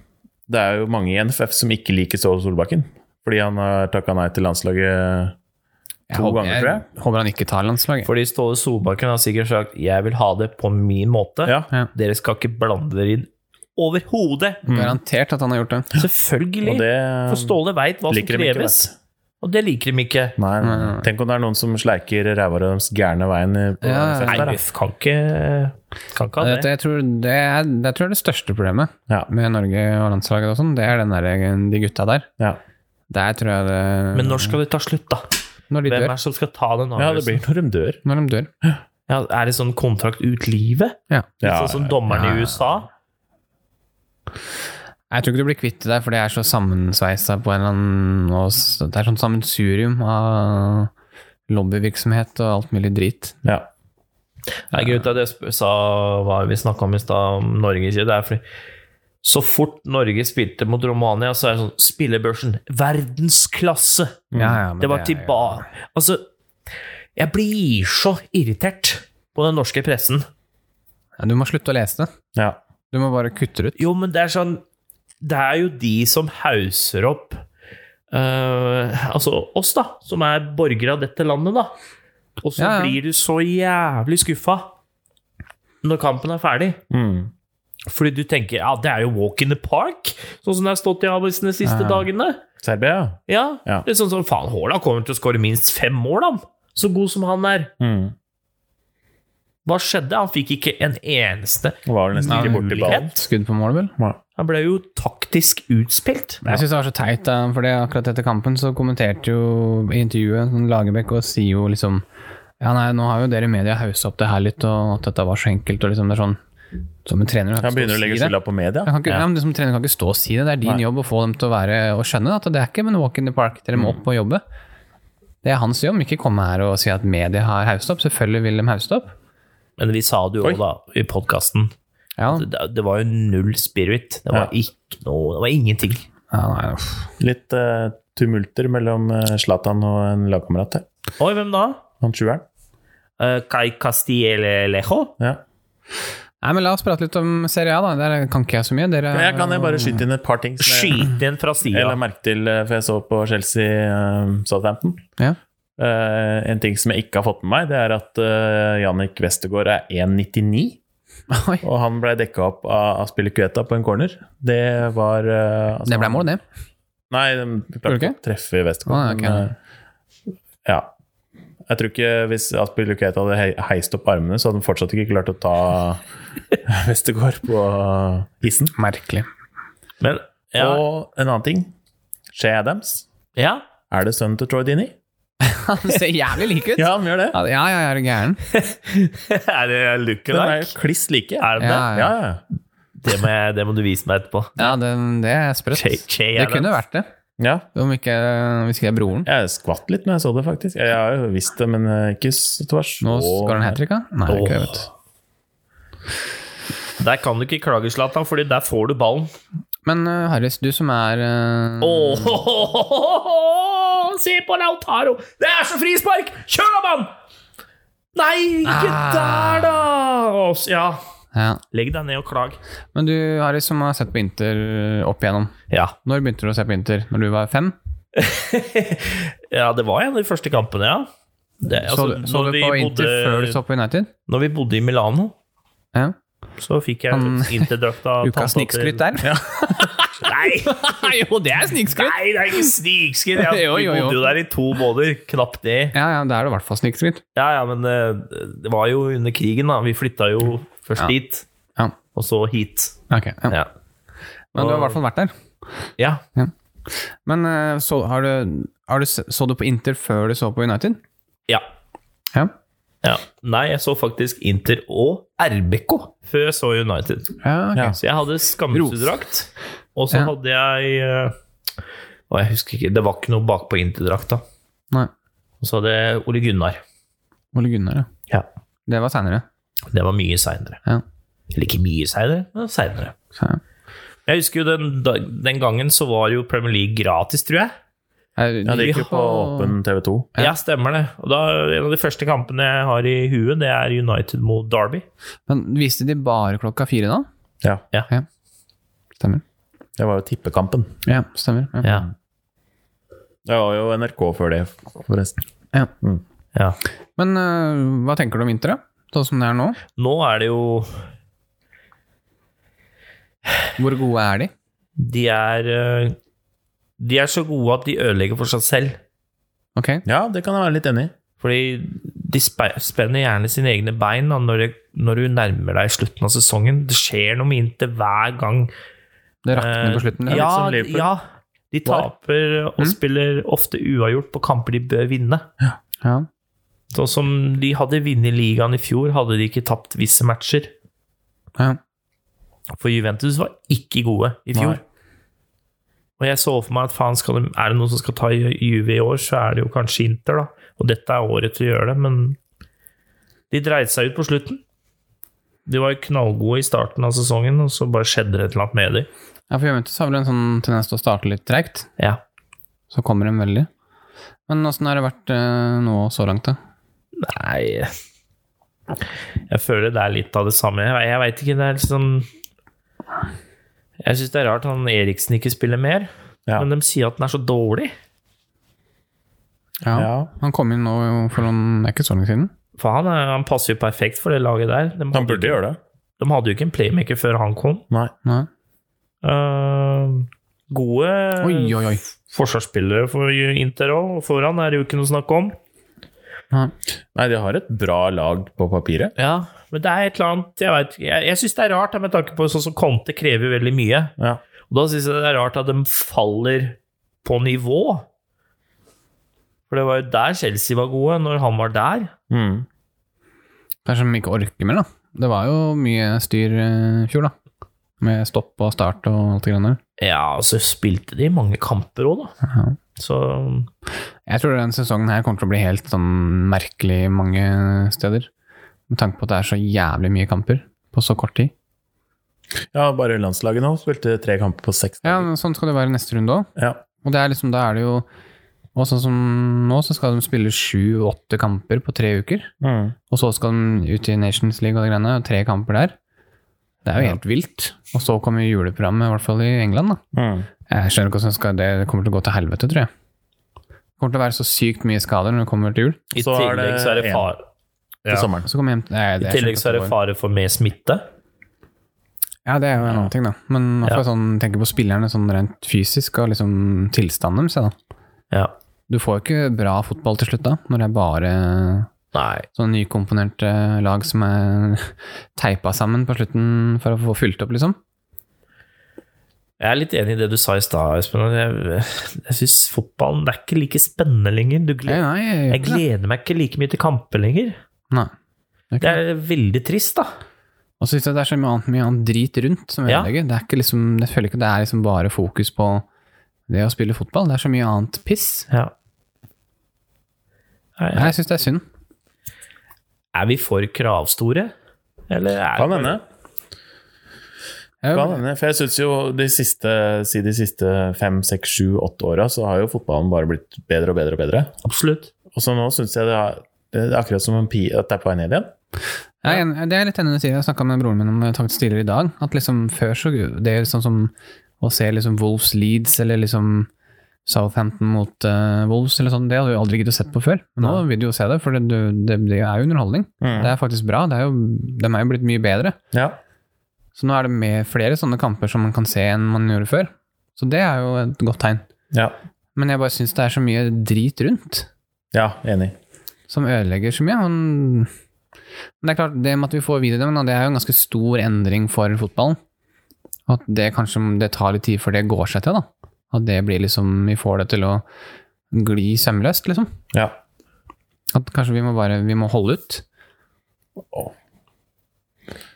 Speaker 1: det er jo mange i NFF som ikke liker Ståle Solbakken. Fordi han har takka nei til landslaget
Speaker 3: Jeg
Speaker 1: to
Speaker 3: håper-
Speaker 1: ganger, tror jeg.
Speaker 3: Håper han ikke tar landslaget.
Speaker 2: Fordi Ståle Solbakken har sikkert sagt 'jeg vil ha det på min måte'.
Speaker 1: Ja.
Speaker 3: Ja.
Speaker 2: Dere skal ikke blande dere inn overhodet!
Speaker 3: Garantert at han har gjort det.
Speaker 2: Selvfølgelig!
Speaker 1: Mm. Og det
Speaker 2: For Ståle veit hva som
Speaker 1: liker de ikke,
Speaker 2: kreves, og det liker de ikke.
Speaker 1: Nei, nei.
Speaker 3: Nei, nei.
Speaker 1: Tenk om det er noen som sleiker ræva deres gærne veien i- på
Speaker 3: Ja,
Speaker 1: NFF
Speaker 2: Nei,
Speaker 1: der, da.
Speaker 2: Uff kan ikke Kan ikke ha
Speaker 3: Dette,
Speaker 2: det.
Speaker 3: jeg tror det, er, det tror jeg er det største problemet
Speaker 1: Ja.
Speaker 3: med Norge og landslaget og sånn. Det er den der, de gutta der.
Speaker 1: Ja.
Speaker 3: Der tror jeg det
Speaker 2: Men når skal det ta slutt, da?
Speaker 3: Når de
Speaker 2: Hvem er
Speaker 3: dør.
Speaker 2: det som skal ta den
Speaker 1: ja,
Speaker 2: avgjørelsen?
Speaker 1: det blir når de dør.
Speaker 3: Når de dør.
Speaker 2: Ja, er det sånn kontrakt ut livet?
Speaker 3: Ja.
Speaker 2: Litt
Speaker 1: Ja,
Speaker 2: sånn som dommerne i USA?
Speaker 3: Jeg tror ikke du blir kvitt det der, for det er så sammensveisa på en eller annen og s- Det er sånn sammensurium av lobbyvirksomhet og alt mulig drit.
Speaker 1: Ja.
Speaker 2: Nei, grunnen til at jeg sp- sa hva vi snakka om i stad, om Norge ikke, det er fordi så fort Norge spilte mot Romania, så er det sånn Spillebørsen, verdensklasse!
Speaker 3: Mm. Ja, ja, men
Speaker 2: det var
Speaker 3: det er jo-
Speaker 2: tilbake Altså, jeg blir så irritert på den norske pressen.
Speaker 3: Ja, du må slutte å lese det.
Speaker 1: ja.
Speaker 3: Du må bare kutte det ut.
Speaker 2: Jo, men det er sånn Det er jo de som hauser opp eh, Altså oss, da, som er borgere av dette landet, da. Og så
Speaker 3: Ja, ja.
Speaker 2: blir du så jævlig skuffa når kampen er ferdig.
Speaker 1: Mm.
Speaker 2: Fordi du tenker ja, det er jo walk in the park, sånn som det har stått i avisene de siste dagene.
Speaker 1: Serbia, ja.
Speaker 2: Ja,
Speaker 1: Ja.
Speaker 2: Litt sånn som faen, Haaland kommer til å skåre minst fem mål, han. Så god som han er.
Speaker 1: Mm.
Speaker 2: Hva skjedde? Han fikk ikke en eneste
Speaker 1: Han var vel nesten ikke borti ballen.
Speaker 3: Skudd på mål, vel?
Speaker 2: Han ble jo taktisk utspilt.
Speaker 3: Jeg syns det var så teit, da, for det, akkurat etter kampen så kommenterte jo i intervjuet sånn Lagerbäck og sier jo liksom Ja, nei, nå har jo dere i media haussa opp det her litt, og at dette var så enkelt, og liksom det er sånn Som en trener kan
Speaker 1: Han
Speaker 3: ikke
Speaker 1: begynner
Speaker 3: stå
Speaker 1: å
Speaker 3: og
Speaker 1: legge
Speaker 3: si det.
Speaker 1: skylda på media.
Speaker 3: Jeg kan ikke, ja. men du som trener kan ikke stå og si det. Det er din
Speaker 1: Nei.
Speaker 3: jobb å få dem til å være og skjønne at det er ikke men walk in the park. Dere må opp og jobbe. Det er hans jobb. Ikke komme her og si at media har haust opp. Selvfølgelig vil de hauste opp.
Speaker 2: Men vi sa det jo
Speaker 1: Oi.
Speaker 2: òg, da, i podkasten.
Speaker 3: Ja,
Speaker 2: Det, det var jo null spirit. Det var,
Speaker 1: Ja.
Speaker 2: ikke noe, det var ingenting.
Speaker 3: ja nei, uff.
Speaker 1: Litt eh, tumulter mellom eh, Zlatan og en lagkamerat her.
Speaker 2: Oi, hvem da?
Speaker 1: Han sjueren.
Speaker 2: Eh, Kai Castillejo?
Speaker 1: Ja.
Speaker 3: nei, men la oss prate litt om Serie A, da. Der kan ikke jeg så mye. Dere
Speaker 1: Jeg kan jeg bare skyte inn et par ting som jeg,
Speaker 2: Skyt inn fra
Speaker 1: jeg la
Speaker 2: sida.
Speaker 1: merke til, eh, for jeg så på Chelsea eh, Southampton.
Speaker 3: Ja.
Speaker 1: Eh, en ting som jeg ikke har fått med meg, det er at eh, Jannik Westergaard er 1,99.
Speaker 3: Oi.
Speaker 1: Og han ble dekka opp av, av Spilicueta på en corner. Det var eh, altså-
Speaker 3: Det ble mål, det.
Speaker 1: Nei, de klarte
Speaker 3: Gjorde
Speaker 1: ikke
Speaker 3: det
Speaker 1: å treffe i Westergaard.
Speaker 3: Ah, ok.
Speaker 1: men, eh, ja. Jeg tror ikke hvis Aspilicueta hadde hei- heist opp armene, så hadde han fortsatt ikke klart å ta Westergaard på isen.
Speaker 3: Merkelig.
Speaker 2: Men ja,
Speaker 1: Og en annen ting. Shea Adams.
Speaker 2: ja.
Speaker 1: Er det sønnen til Troy Dini?
Speaker 3: Han ser jævlig lik ut. Ja,
Speaker 1: Ja, han gjør det.
Speaker 3: ja, ja, er du gæren?
Speaker 2: Er det
Speaker 1: Den er
Speaker 2: lookalike?
Speaker 1: jo kliss like.
Speaker 2: Er det
Speaker 3: Ja,
Speaker 2: det?
Speaker 1: Ja, ja.
Speaker 2: Det må, jeg, det må du vise meg etterpå.
Speaker 3: Ja, det, det er sprøtt.
Speaker 2: Che- Che
Speaker 3: Det
Speaker 2: Adams.
Speaker 3: kunne vært det.
Speaker 1: Ja,
Speaker 3: Om ikke, hvis ikke det er broren.
Speaker 1: jeg skvatt litt når jeg så det, faktisk. Jeg har jo visst det, men eh, ikke så tvers.
Speaker 3: Nå skal han hat trick, da? Nei, det er ikke det, vet du.
Speaker 2: Der kan du ikke klage, Zlatan, Fordi der får du ballen.
Speaker 3: Men eh, Harris, du som er eh,
Speaker 2: Åh, Se på Lautaro! Det er så frispark! Kjør da, mann! Nei, ikke
Speaker 3: Ah.
Speaker 2: der, da! Åh, Ja,
Speaker 3: ja.
Speaker 2: legg deg ned og klag.
Speaker 3: Men du, Harris, som har sett på Inter eh, opp igjennom.
Speaker 2: Ja.
Speaker 3: Når begynte du å se på Inter? Når du var fem?
Speaker 2: ja, det var en av de første kampene, ja. Det,
Speaker 3: Så,
Speaker 2: altså,
Speaker 3: du- så
Speaker 2: når
Speaker 3: du
Speaker 2: vi
Speaker 3: på Inter
Speaker 2: bodde-
Speaker 3: før du så på United?
Speaker 2: Når vi bodde i Milano,
Speaker 3: Ja.
Speaker 2: så fikk jeg
Speaker 3: Han-
Speaker 2: interdrakt av tanta
Speaker 3: Ukas
Speaker 2: til-
Speaker 3: snikskryt der?
Speaker 2: Nei,
Speaker 3: jo, det er snikskrytt!
Speaker 2: nei, det er ikke snikskryt! Ja,
Speaker 3: Jo, jo,
Speaker 2: Vi
Speaker 3: jo.
Speaker 2: bodde jo der i to måneder, knapt det.
Speaker 3: Ja, ja, det er det i hvert fall snikskryt.
Speaker 2: Ja, ja, men eh, det var jo under krigen, da. Vi flytta jo først
Speaker 3: Ja.
Speaker 2: dit,
Speaker 3: Ja.
Speaker 2: og så hit.
Speaker 3: Ok, ja.
Speaker 2: Ja.
Speaker 3: Men du har i hvert fall vært der.
Speaker 2: ja.
Speaker 3: Men eh, så, har du, har du, s- så du på Inter før du så på United?
Speaker 2: Ja.
Speaker 3: Ja.
Speaker 2: ja. Nei, jeg så faktisk Inter og RBK før jeg så United.
Speaker 3: ja, ok.
Speaker 1: Ja.
Speaker 2: Så jeg hadde skammedrakt, og så
Speaker 3: Ja.
Speaker 2: hadde jeg eh, Å, jeg husker ikke. Det var ikke noe bakpå Inter-drakt, da.
Speaker 3: Nei.
Speaker 2: Og så hadde jeg Ole Gunnar.
Speaker 3: Ole Gunnar, ja.
Speaker 2: Ja.
Speaker 3: Det var seinere.
Speaker 2: Det var mye seinere.
Speaker 3: Ja.
Speaker 2: Eller ikke mye seinere, men seinere.
Speaker 3: Så, ja.
Speaker 2: Jeg husker jo den, da- den gangen så var jo Premier League gratis, tror jeg.
Speaker 3: Jeg-
Speaker 1: Ja, det gikk jo på
Speaker 3: har-
Speaker 1: åpen TV 2.
Speaker 2: Ja, stemmer det. Og da, En av de første kampene jeg har i huet, det er United mot Derby.
Speaker 3: Men viste de bare klokka fire da?
Speaker 1: Ja,
Speaker 3: Stemmer.
Speaker 1: det var jo tippekampen.
Speaker 3: Ja, stemmer. Ja.
Speaker 2: Ja.
Speaker 1: Det var jo NRK før det, forresten.
Speaker 2: ja.
Speaker 3: Men øh, hva tenker du om Inter, da? Sånn som det er nå?
Speaker 2: Nå er det jo
Speaker 3: Hvor gode er de?
Speaker 2: De er eh, De er så gode at de ødelegger for seg selv.
Speaker 3: Ok,
Speaker 1: Ja, det kan jeg være litt enig i.
Speaker 2: Fordi de spe- spenner gjerne sine egne bein da, når, det, når du nærmer deg slutten av sesongen. Det skjer noe med Inter hver gang.
Speaker 3: det rakner
Speaker 2: Eh,
Speaker 3: på slutten. der.
Speaker 1: litt
Speaker 2: ja,
Speaker 1: som Liverpool. Mm?
Speaker 2: ja, de taper og spiller ofte uavgjort på kamper de bør vinne.
Speaker 3: Ja.
Speaker 2: Sånn som de hadde vunnet ligaen i fjor, hadde de ikke tapt visse matcher.
Speaker 3: Ja.
Speaker 2: For Juventus var ikke gode i fjor.
Speaker 1: Nei.
Speaker 2: Og jeg så for meg at faen, skal de, er det noen som skal ta Ju- Juve i år, så er det jo kanskje Inter, da. Og dette er året til å gjøre det, men de dreide seg ut på slutten. De var jo knallgode i starten av sesongen, og så bare skjedde det et eller annet med dem.
Speaker 3: ja, for Juventus har vel en sånn tendens til å starte litt treigt,
Speaker 2: Ja.
Speaker 3: så kommer de veldig. Men åssen har det vært øh, nå så langt, da?
Speaker 2: Nei Jeg føler det er litt av det samme. Jeg, jeg veit ikke, det er litt sånn Jeg syns det er rart han Eriksen ikke spiller mer,
Speaker 1: Ja.
Speaker 2: men de sier at den er så dårlig.
Speaker 3: Ja.
Speaker 1: Ja.
Speaker 3: Han kom inn nå for noen det er ikke så lenge siden.
Speaker 2: For han, er- han passer jo perfekt for det laget der. De
Speaker 1: Han
Speaker 2: hadde,
Speaker 1: burde gjøre det.
Speaker 2: de hadde jo ikke en playmaker før han kom.
Speaker 1: Nei.
Speaker 3: Nei.
Speaker 2: Eh, gode
Speaker 3: Oi, oi, oi.
Speaker 2: forsvarsspillere for Inter òg. Foran er det jo ikke noe snakk om.
Speaker 3: Nei.
Speaker 1: Nei, de har et bra lag på papiret.
Speaker 2: Ja, Men det er et eller annet Jeg, vet, jeg, jeg syns det er rart, da, med tanke på sånn som Conte krever veldig mye.
Speaker 1: Ja.
Speaker 2: Og da syns jeg det er rart at de faller på nivå. For det var jo der Chelsea var gode, når han var der.
Speaker 1: Mm.
Speaker 3: Det er som de ikke orker mer, da. Det var jo mye styr øh, i fjor, da. Med stopp og start og alt det greiene der.
Speaker 2: Ja, og så spilte de mange kamper òg, da.
Speaker 3: Ja.
Speaker 2: Så
Speaker 3: Jeg tror denne sesongen her kommer til å bli helt sånn merkelig mange steder. Med tanke på at det er så jævlig mye kamper på så kort tid.
Speaker 1: ja, bare landslaget nå spilte tre kamper på seks
Speaker 3: Ja,
Speaker 1: dager.
Speaker 3: men Sånn skal det være neste runde òg.
Speaker 1: Ja.
Speaker 3: Og det er liksom, da er det jo Og sånn som nå, så skal de spille sju-åtte kamper på tre uker.
Speaker 1: Mm.
Speaker 3: Og så skal de ut i Nations League og det greiene, og tre kamper der. Det er jo
Speaker 1: Ja.
Speaker 3: helt vilt. Og så kommer juleprogrammet, i hvert fall i England, da.
Speaker 1: Mm.
Speaker 3: Jeg skjønner ikke hvordan skal det det kommer til å gå til helvete, tror jeg. Det kommer til å være så sykt mye skader når det kommer til jul.
Speaker 2: i
Speaker 1: Så er
Speaker 2: tillegg
Speaker 1: det
Speaker 2: så er det
Speaker 1: en
Speaker 2: far
Speaker 1: Til
Speaker 2: Ja.
Speaker 1: sommeren.
Speaker 3: Så kommer jeg hjem til
Speaker 2: I
Speaker 3: Nei, det jeg skjønner
Speaker 2: tillegg
Speaker 3: ikke
Speaker 2: så er det
Speaker 3: hvordan går.
Speaker 2: fare for mer smitte.
Speaker 3: Ja, det er jo en annen ting, da. Men i hvert fall sånn, tenker på spillerne sånn rent fysisk og liksom tilstanden deres. ja, da.
Speaker 2: Ja.
Speaker 3: Du får jo ikke bra fotball til slutt da, når det er bare
Speaker 2: Nei.
Speaker 3: sånne nykomponerte Sånn eh, lag som er teipa sammen på slutten for å få fylt opp, liksom.
Speaker 2: Jeg er litt enig i det du sa i stad, Espen. Jeg, jeg syns fotballen det er ikke like spennende lenger. Du
Speaker 3: Nei,
Speaker 2: gleder,
Speaker 3: nei, jeg gjør
Speaker 2: jeg
Speaker 3: ikke det.
Speaker 2: gleder meg ikke like mye til kamper lenger.
Speaker 3: Nei. Det er
Speaker 2: Det
Speaker 3: ikke det.
Speaker 2: er veldig trist, da.
Speaker 3: Og så syns jeg det er så mye annet, mye annet drit rundt som
Speaker 2: Ja.
Speaker 3: ødelegger. Det er ikke liksom, jeg føler ikke det er liksom bare fokus på Det å spille fotball, det er så mye annet piss.
Speaker 2: Ja. Nei,
Speaker 3: Nei, jeg syns det er synd.
Speaker 2: Er vi for kravstore? Eller er
Speaker 1: Kan hende.
Speaker 3: Jeg,
Speaker 1: Kan hende. For jeg syns jo de siste, si de siste fem, seks, sju, åtte åra, så har jo fotballen bare blitt bedre og bedre og bedre.
Speaker 2: Absolutt.
Speaker 1: Og så nå syns jeg det er, det er akkurat som en pi, at det er på vei ned igjen.
Speaker 3: Jeg er enig- det er litt enig du sier. Jeg snakka med broren min om det faktisk tidligere i dag. At liksom før så Det er sånn som å se liksom Wolves Leeds eller liksom Southampton mot eh, Wolves eller sånn, det hadde vi aldri giddet å sett på før. Men nå vil du jo se det, for det, du- det, det er jo underholdning.
Speaker 1: Mm.
Speaker 3: Det er faktisk bra. Det er jo, de er jo blitt mye bedre.
Speaker 1: Ja.
Speaker 3: Så nå er det med flere sånne kamper som man kan se enn man gjorde før. Så det er jo et godt tegn.
Speaker 1: Ja.
Speaker 3: Men jeg bare syns det er så mye drit rundt
Speaker 1: ja, enig.
Speaker 3: som ødelegger så mye. Men, men det er klart, det med at vi får videodømming, da, det er jo en ganske stor endring for fotballen. Og at det kanskje det tar litt tid før det går seg til, da. At det blir liksom Vi får det til å gli sømløst, liksom.
Speaker 1: Ja.
Speaker 3: At kanskje vi må bare Vi må holde ut.
Speaker 1: Åh.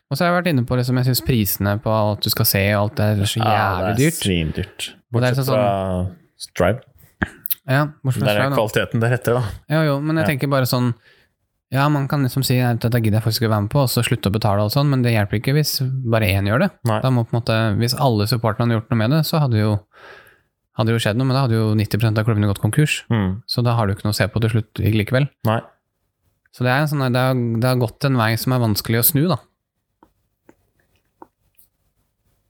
Speaker 3: Og så har jeg vært inne på liksom, jeg syns prisene på alt du skal se og alt det er så jævlig
Speaker 1: Ja, det er
Speaker 3: dyrt.
Speaker 1: svindyrt.
Speaker 3: Og det er
Speaker 1: Bortsett
Speaker 3: sånn-
Speaker 1: fra Strive.
Speaker 3: Ja, bortsett fra
Speaker 1: Der er
Speaker 3: Shrine, da.
Speaker 1: kvaliteten deretter, da.
Speaker 3: Jo, jo, men jeg
Speaker 1: Ja.
Speaker 3: tenker bare sånn Ja, man kan liksom si at dette gidder jeg faktisk ikke være med på, og så slutte å betale og sånn, men det hjelper ikke hvis bare én gjør det.
Speaker 1: Nei.
Speaker 3: Da må på en måte, Hvis alle supporterne hadde gjort noe med det, så hadde jo hadde jo skjedd noe, men da hadde jo 90 av klubbene gått konkurs.
Speaker 1: Mm.
Speaker 3: Så da har du ikke noe å se på til slutt likevel.
Speaker 1: Nei.
Speaker 3: Så det, er en sånn, det, har, det har gått en vei som er vanskelig å snu, da.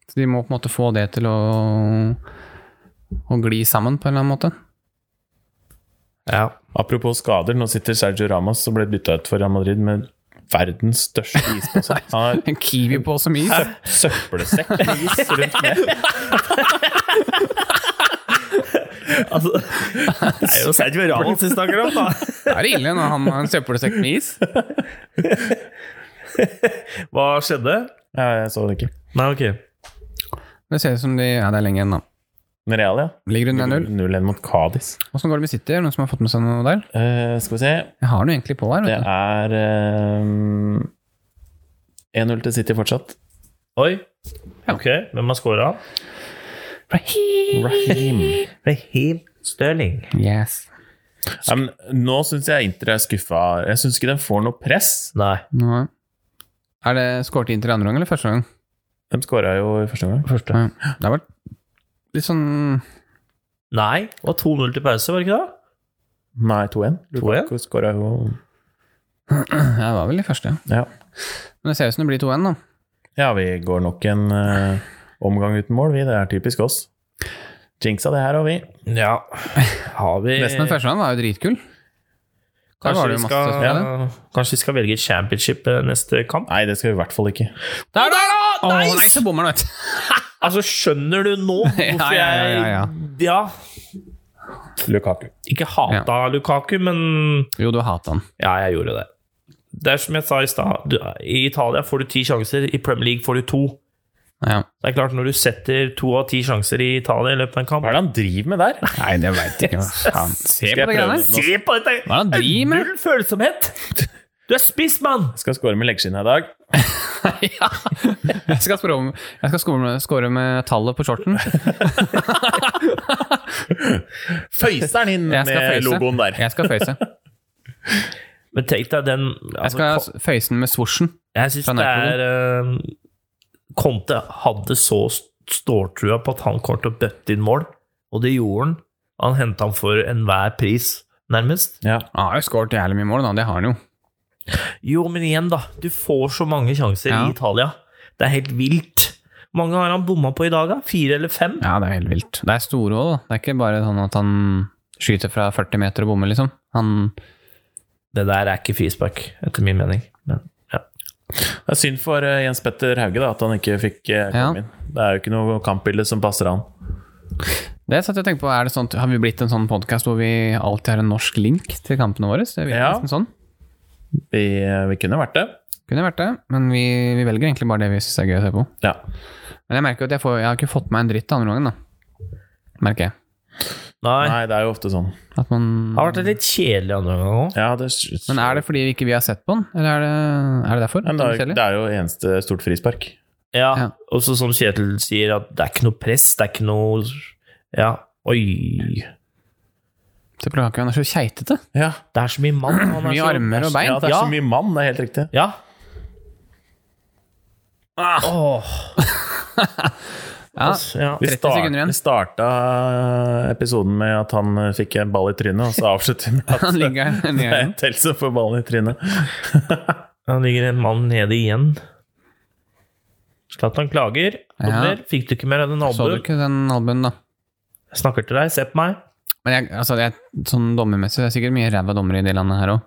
Speaker 3: Så de må på en måte få det til å, å gli sammen på en eller annen måte.
Speaker 2: Ja.
Speaker 1: Apropos skader, nå sitter Sergio Ramos og ble bytta ut for Real Madrid med verdens største ispose. Han har
Speaker 3: En kiwi på som is!
Speaker 1: sø- søppelsekk med is rundt kneet.
Speaker 2: Altså, det er jo Sergio Ramos vi snakker om, da.
Speaker 3: Det er ille når han har en søppelsekk med is.
Speaker 2: Hva skjedde?
Speaker 1: Ja, jeg så det ikke.
Speaker 2: Nei, ok.
Speaker 3: Det ser ut som de Ja, det er lenge igjen, da.
Speaker 1: Men Real, ja.
Speaker 3: Ligger under 0
Speaker 1: 0-1 mot Cádiz.
Speaker 3: Åssen går det med City? Er det noen som har fått med seg noe der?
Speaker 1: Eh, skal vi se.
Speaker 3: Jeg har noe egentlig på her.
Speaker 1: Det
Speaker 3: Vet du.
Speaker 1: er eh, 1-0 til City fortsatt.
Speaker 2: Oi. Ok, hvem har scora? Raheem.
Speaker 1: Raheem.
Speaker 2: Raheem Stirling.
Speaker 3: Yes.
Speaker 1: Ja, men Um, nå syns jeg Inter er skuffa. Jeg syns ikke de får noe press.
Speaker 2: Nei,
Speaker 3: Nå. Er det skåret Inter i andre gang eller første gang?
Speaker 1: De skåra jo i første omgang.
Speaker 2: første.
Speaker 3: Ja. Det har vært litt sånn
Speaker 2: Nei, det var 2-0 til pause, var det ikke det?
Speaker 1: Nei, 2-1.
Speaker 2: 2-1?
Speaker 1: Lukaku skåra jo
Speaker 3: Ja, det var vel i første.
Speaker 1: Ja.
Speaker 3: Men det ser ut som det blir 2-1, da.
Speaker 1: Ja, vi går nok en eh, omgang uten mål, vi. Det er typisk oss. Jinxa det her og vi.
Speaker 2: Ja. Har vi
Speaker 3: Resten av første gang var jo dritkul. Der
Speaker 2: Eh, Kanskje
Speaker 3: var det
Speaker 2: vi
Speaker 3: jo masse
Speaker 2: skal,
Speaker 3: som skjedde.
Speaker 2: ja, kanskje vi skal velge championship eh, neste kamp?
Speaker 1: Nei, det skal vi i hvert fall ikke.
Speaker 2: Der, der,
Speaker 3: Å
Speaker 2: da!
Speaker 3: nei, så bommer han, vet du.
Speaker 2: Altså, skjønner du nå hvorfor
Speaker 3: ja,
Speaker 2: jeg
Speaker 3: ja, ja,
Speaker 1: Lukaku.
Speaker 2: ikke hata Lukaku, men
Speaker 3: Jo, du hater han.
Speaker 2: ja, jeg gjorde det. Det er som jeg sa i stad, du- i Italia får du ti sjanser, i Premier League får du to.
Speaker 3: Ja.
Speaker 2: Det er klart, når du setter to av ti sjanser i Italia i løpet av en kamp
Speaker 1: Hva er det han driver med der?
Speaker 3: Nei, det veit jeg ikke. Faen. Se
Speaker 1: Skal jeg
Speaker 3: på det
Speaker 1: prøve
Speaker 3: greiene
Speaker 1: det
Speaker 3: der.
Speaker 1: nå?
Speaker 2: Se på dette!
Speaker 3: Hva er det han driver med?
Speaker 2: Null følsomhet! Du er spiss, mann!
Speaker 1: Skal skåre med leggskinnet i dag.
Speaker 3: ja. Jeg skal, score med, jeg skal score, med, score med tallet på shorten.
Speaker 1: Føyser han inn
Speaker 3: Jeg
Speaker 1: med
Speaker 3: skal føyse.
Speaker 1: logoen der.
Speaker 3: Jeg skal føyse.
Speaker 2: Men tenk deg den
Speaker 3: Jeg
Speaker 2: altså,
Speaker 3: skal føyse den med svosjen.
Speaker 2: Jeg syns
Speaker 3: Fra
Speaker 2: det er eh, Conte hadde så st- ståltrua på at han kom til å bøtte inn mål, og det gjorde han. Han henta han for enhver pris, nærmest.
Speaker 1: Ja.
Speaker 3: Han har jo skåret jævlig mye mål, da. Det har han jo.
Speaker 2: Jo, men igjen, da. Du får så mange sjanser
Speaker 3: Ja.
Speaker 2: i Italia. Det er helt vilt. Hvor mange har han bomma på i dag, da? Fire eller fem?
Speaker 3: Ja, det er helt vilt. Det er store òg, da. Det er ikke bare sånn at han skyter fra 40 meter og bommer, liksom. Han
Speaker 2: Det der er ikke frispark, etter min mening. Men ja.
Speaker 1: Det er synd for eh, Jens Petter Hauge da, at han ikke fikk eh,
Speaker 3: Ja.
Speaker 1: komme inn. Det er jo ikke noe kampbilde som passer han.
Speaker 3: Det satt jeg og tenkte på, er det sånn, Har vi blitt en sånn podkast hvor vi alltid har en norsk link til kampene våre? Det virker
Speaker 1: Ja.
Speaker 3: nesten sånn.
Speaker 1: Vi, eh, vi kunne vært det.
Speaker 3: Kunne vært det, men vi, vi velger egentlig bare det vi syns er gøy å se på.
Speaker 1: Ja.
Speaker 3: Men jeg merker jo at jeg, får, jeg har ikke fått meg en dritt andre gangen, da. Merker jeg.
Speaker 2: Nei.
Speaker 1: Nei, det er jo ofte sånn.
Speaker 3: At man
Speaker 2: Det har vært en litt kjedelig andre gang òg.
Speaker 1: Ja, det,
Speaker 3: Men er det fordi vi ikke vi har sett på den, eller er det, er det derfor?
Speaker 1: Men det,
Speaker 3: At
Speaker 1: er,
Speaker 3: den
Speaker 1: jo-
Speaker 3: selger?
Speaker 1: det er jo eneste stort frispark.
Speaker 2: Ja.
Speaker 3: Ja.
Speaker 2: Og så som Kjetil sier, at det er ikke noe press, det er ikke noe Ja. Oi.
Speaker 3: Se på Lukaku, han er så keitete.
Speaker 1: Ja,
Speaker 2: Det er så mye mann. Han er
Speaker 3: Mye
Speaker 2: så,
Speaker 3: armer og bein.
Speaker 1: ja det er
Speaker 2: Ja.
Speaker 1: så mye mann, det er helt riktig.
Speaker 2: Ja. Åh.
Speaker 3: Ah! Ja.
Speaker 2: Altså, ja.
Speaker 1: Vi,
Speaker 3: 30
Speaker 1: start,
Speaker 3: sekunder igjen.
Speaker 1: vi starta episoden med at han eh, fikk en ball i trynet, og så avslutter vi med at
Speaker 3: Han ligger her
Speaker 1: det er
Speaker 3: nede.
Speaker 1: en til som får ballen i trynet.
Speaker 2: Han ligger en mann nede igjen. Zlatan klager. Dommer, fikk du ikke mer enn en
Speaker 3: Så du
Speaker 2: albue?
Speaker 3: ikke den albuen, da?
Speaker 2: Jeg Snakker til deg, se på meg.
Speaker 3: Men jeg, altså, det er, sånn dommermessig, det er sikkert mye ræva dommere i det landet her òg.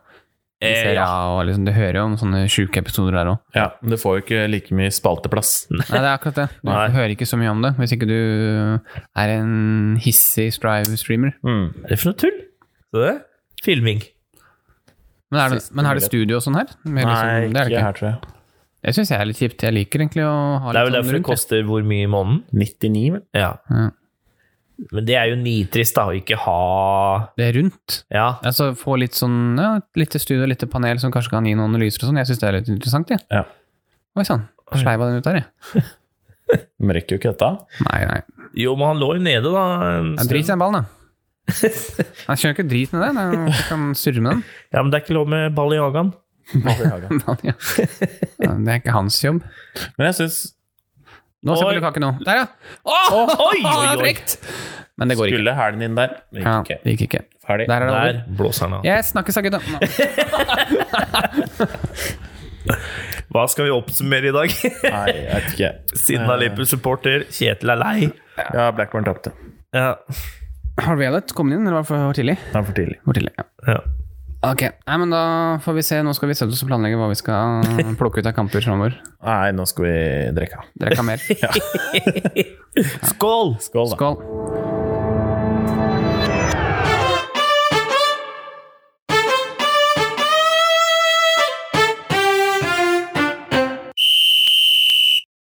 Speaker 2: Eh, ja.
Speaker 3: liksom, du hører jo om sånne sjuke episoder der òg.
Speaker 1: Ja, men du får jo ikke like mye spalteplass.
Speaker 3: Nei, det er akkurat det. Du
Speaker 2: Nei.
Speaker 3: hører ikke så mye om det hvis ikke du er en hissig Strive-streamer.
Speaker 1: Mm.
Speaker 2: Hva er det for noe tull? Så det? Filming.
Speaker 3: Men, er det-
Speaker 1: Siste
Speaker 3: men har det
Speaker 1: mulighet.
Speaker 3: studio og sånn her? Med
Speaker 1: Nei,
Speaker 3: liksom- det er det
Speaker 1: ikke
Speaker 3: ikke.
Speaker 1: her, tror jeg.
Speaker 3: Jeg syns jeg er litt kjipt. Jeg liker egentlig å ha
Speaker 2: Det er vel
Speaker 3: litt sånn
Speaker 2: derfor det
Speaker 3: rundt, jeg.
Speaker 2: koster hvor mye i måneden?
Speaker 1: 99, vel?
Speaker 2: Ja.
Speaker 3: Ja.
Speaker 2: Men det er jo nitrist, da, å ikke ha
Speaker 3: Det er rundt.
Speaker 2: Ja.
Speaker 3: Altså få litt sånn ja, et lite studio, litt panel som kanskje kan gi noen analyser og sånn. Jeg syns det er litt interessant, jeg.
Speaker 1: Ja.
Speaker 3: Oi sann. Sleiva den ut der, jeg.
Speaker 1: De rekker jo ikke dette.
Speaker 3: Nei, nei.
Speaker 2: Jo, men han lå jo nede, da. en
Speaker 3: Ja, drit i
Speaker 2: stund.
Speaker 3: den ballen, da. Jeg skjønner ikke drit med det. det er- Du kan surre med den.
Speaker 2: Ja, men det er ikke lov med ball i hagen.
Speaker 3: Ja. Det er ikke hans jobb.
Speaker 1: Men jeg syns
Speaker 3: Nå ser
Speaker 2: Oi.
Speaker 3: vi Lukaku nå. Der, ja!
Speaker 2: Åh, oi, oi, oi!
Speaker 3: Men det går ikke.
Speaker 1: Skulle hælen inn der. Gikk
Speaker 3: Ja,
Speaker 1: ikke.
Speaker 3: det gikk ikke.
Speaker 1: Ferdig.
Speaker 3: Der er det over.
Speaker 2: Der blåser han av.
Speaker 3: Jeg snakkes da, gutta.
Speaker 2: Hva skal vi oppsummere i dag?
Speaker 1: Nei, jeg vet ikke.
Speaker 2: Siden av Liverpool-supporter, Kjetil er lei.
Speaker 1: Ja, Blackburn tapte.
Speaker 2: Ja.
Speaker 3: Har vi Elliot kommet inn, eller var det for tidlig?
Speaker 1: Det er for tidlig.
Speaker 3: For tidlig, ja.
Speaker 2: Ja.
Speaker 3: Ok, Nei, men da får vi se. Nå skal vi sette oss og planlegge hva vi skal plukke ut av kamper framover.
Speaker 1: Nei, nå skal vi drikke.
Speaker 3: Dere kan mer.
Speaker 2: Skål!
Speaker 1: Skål, da.
Speaker 3: Skål.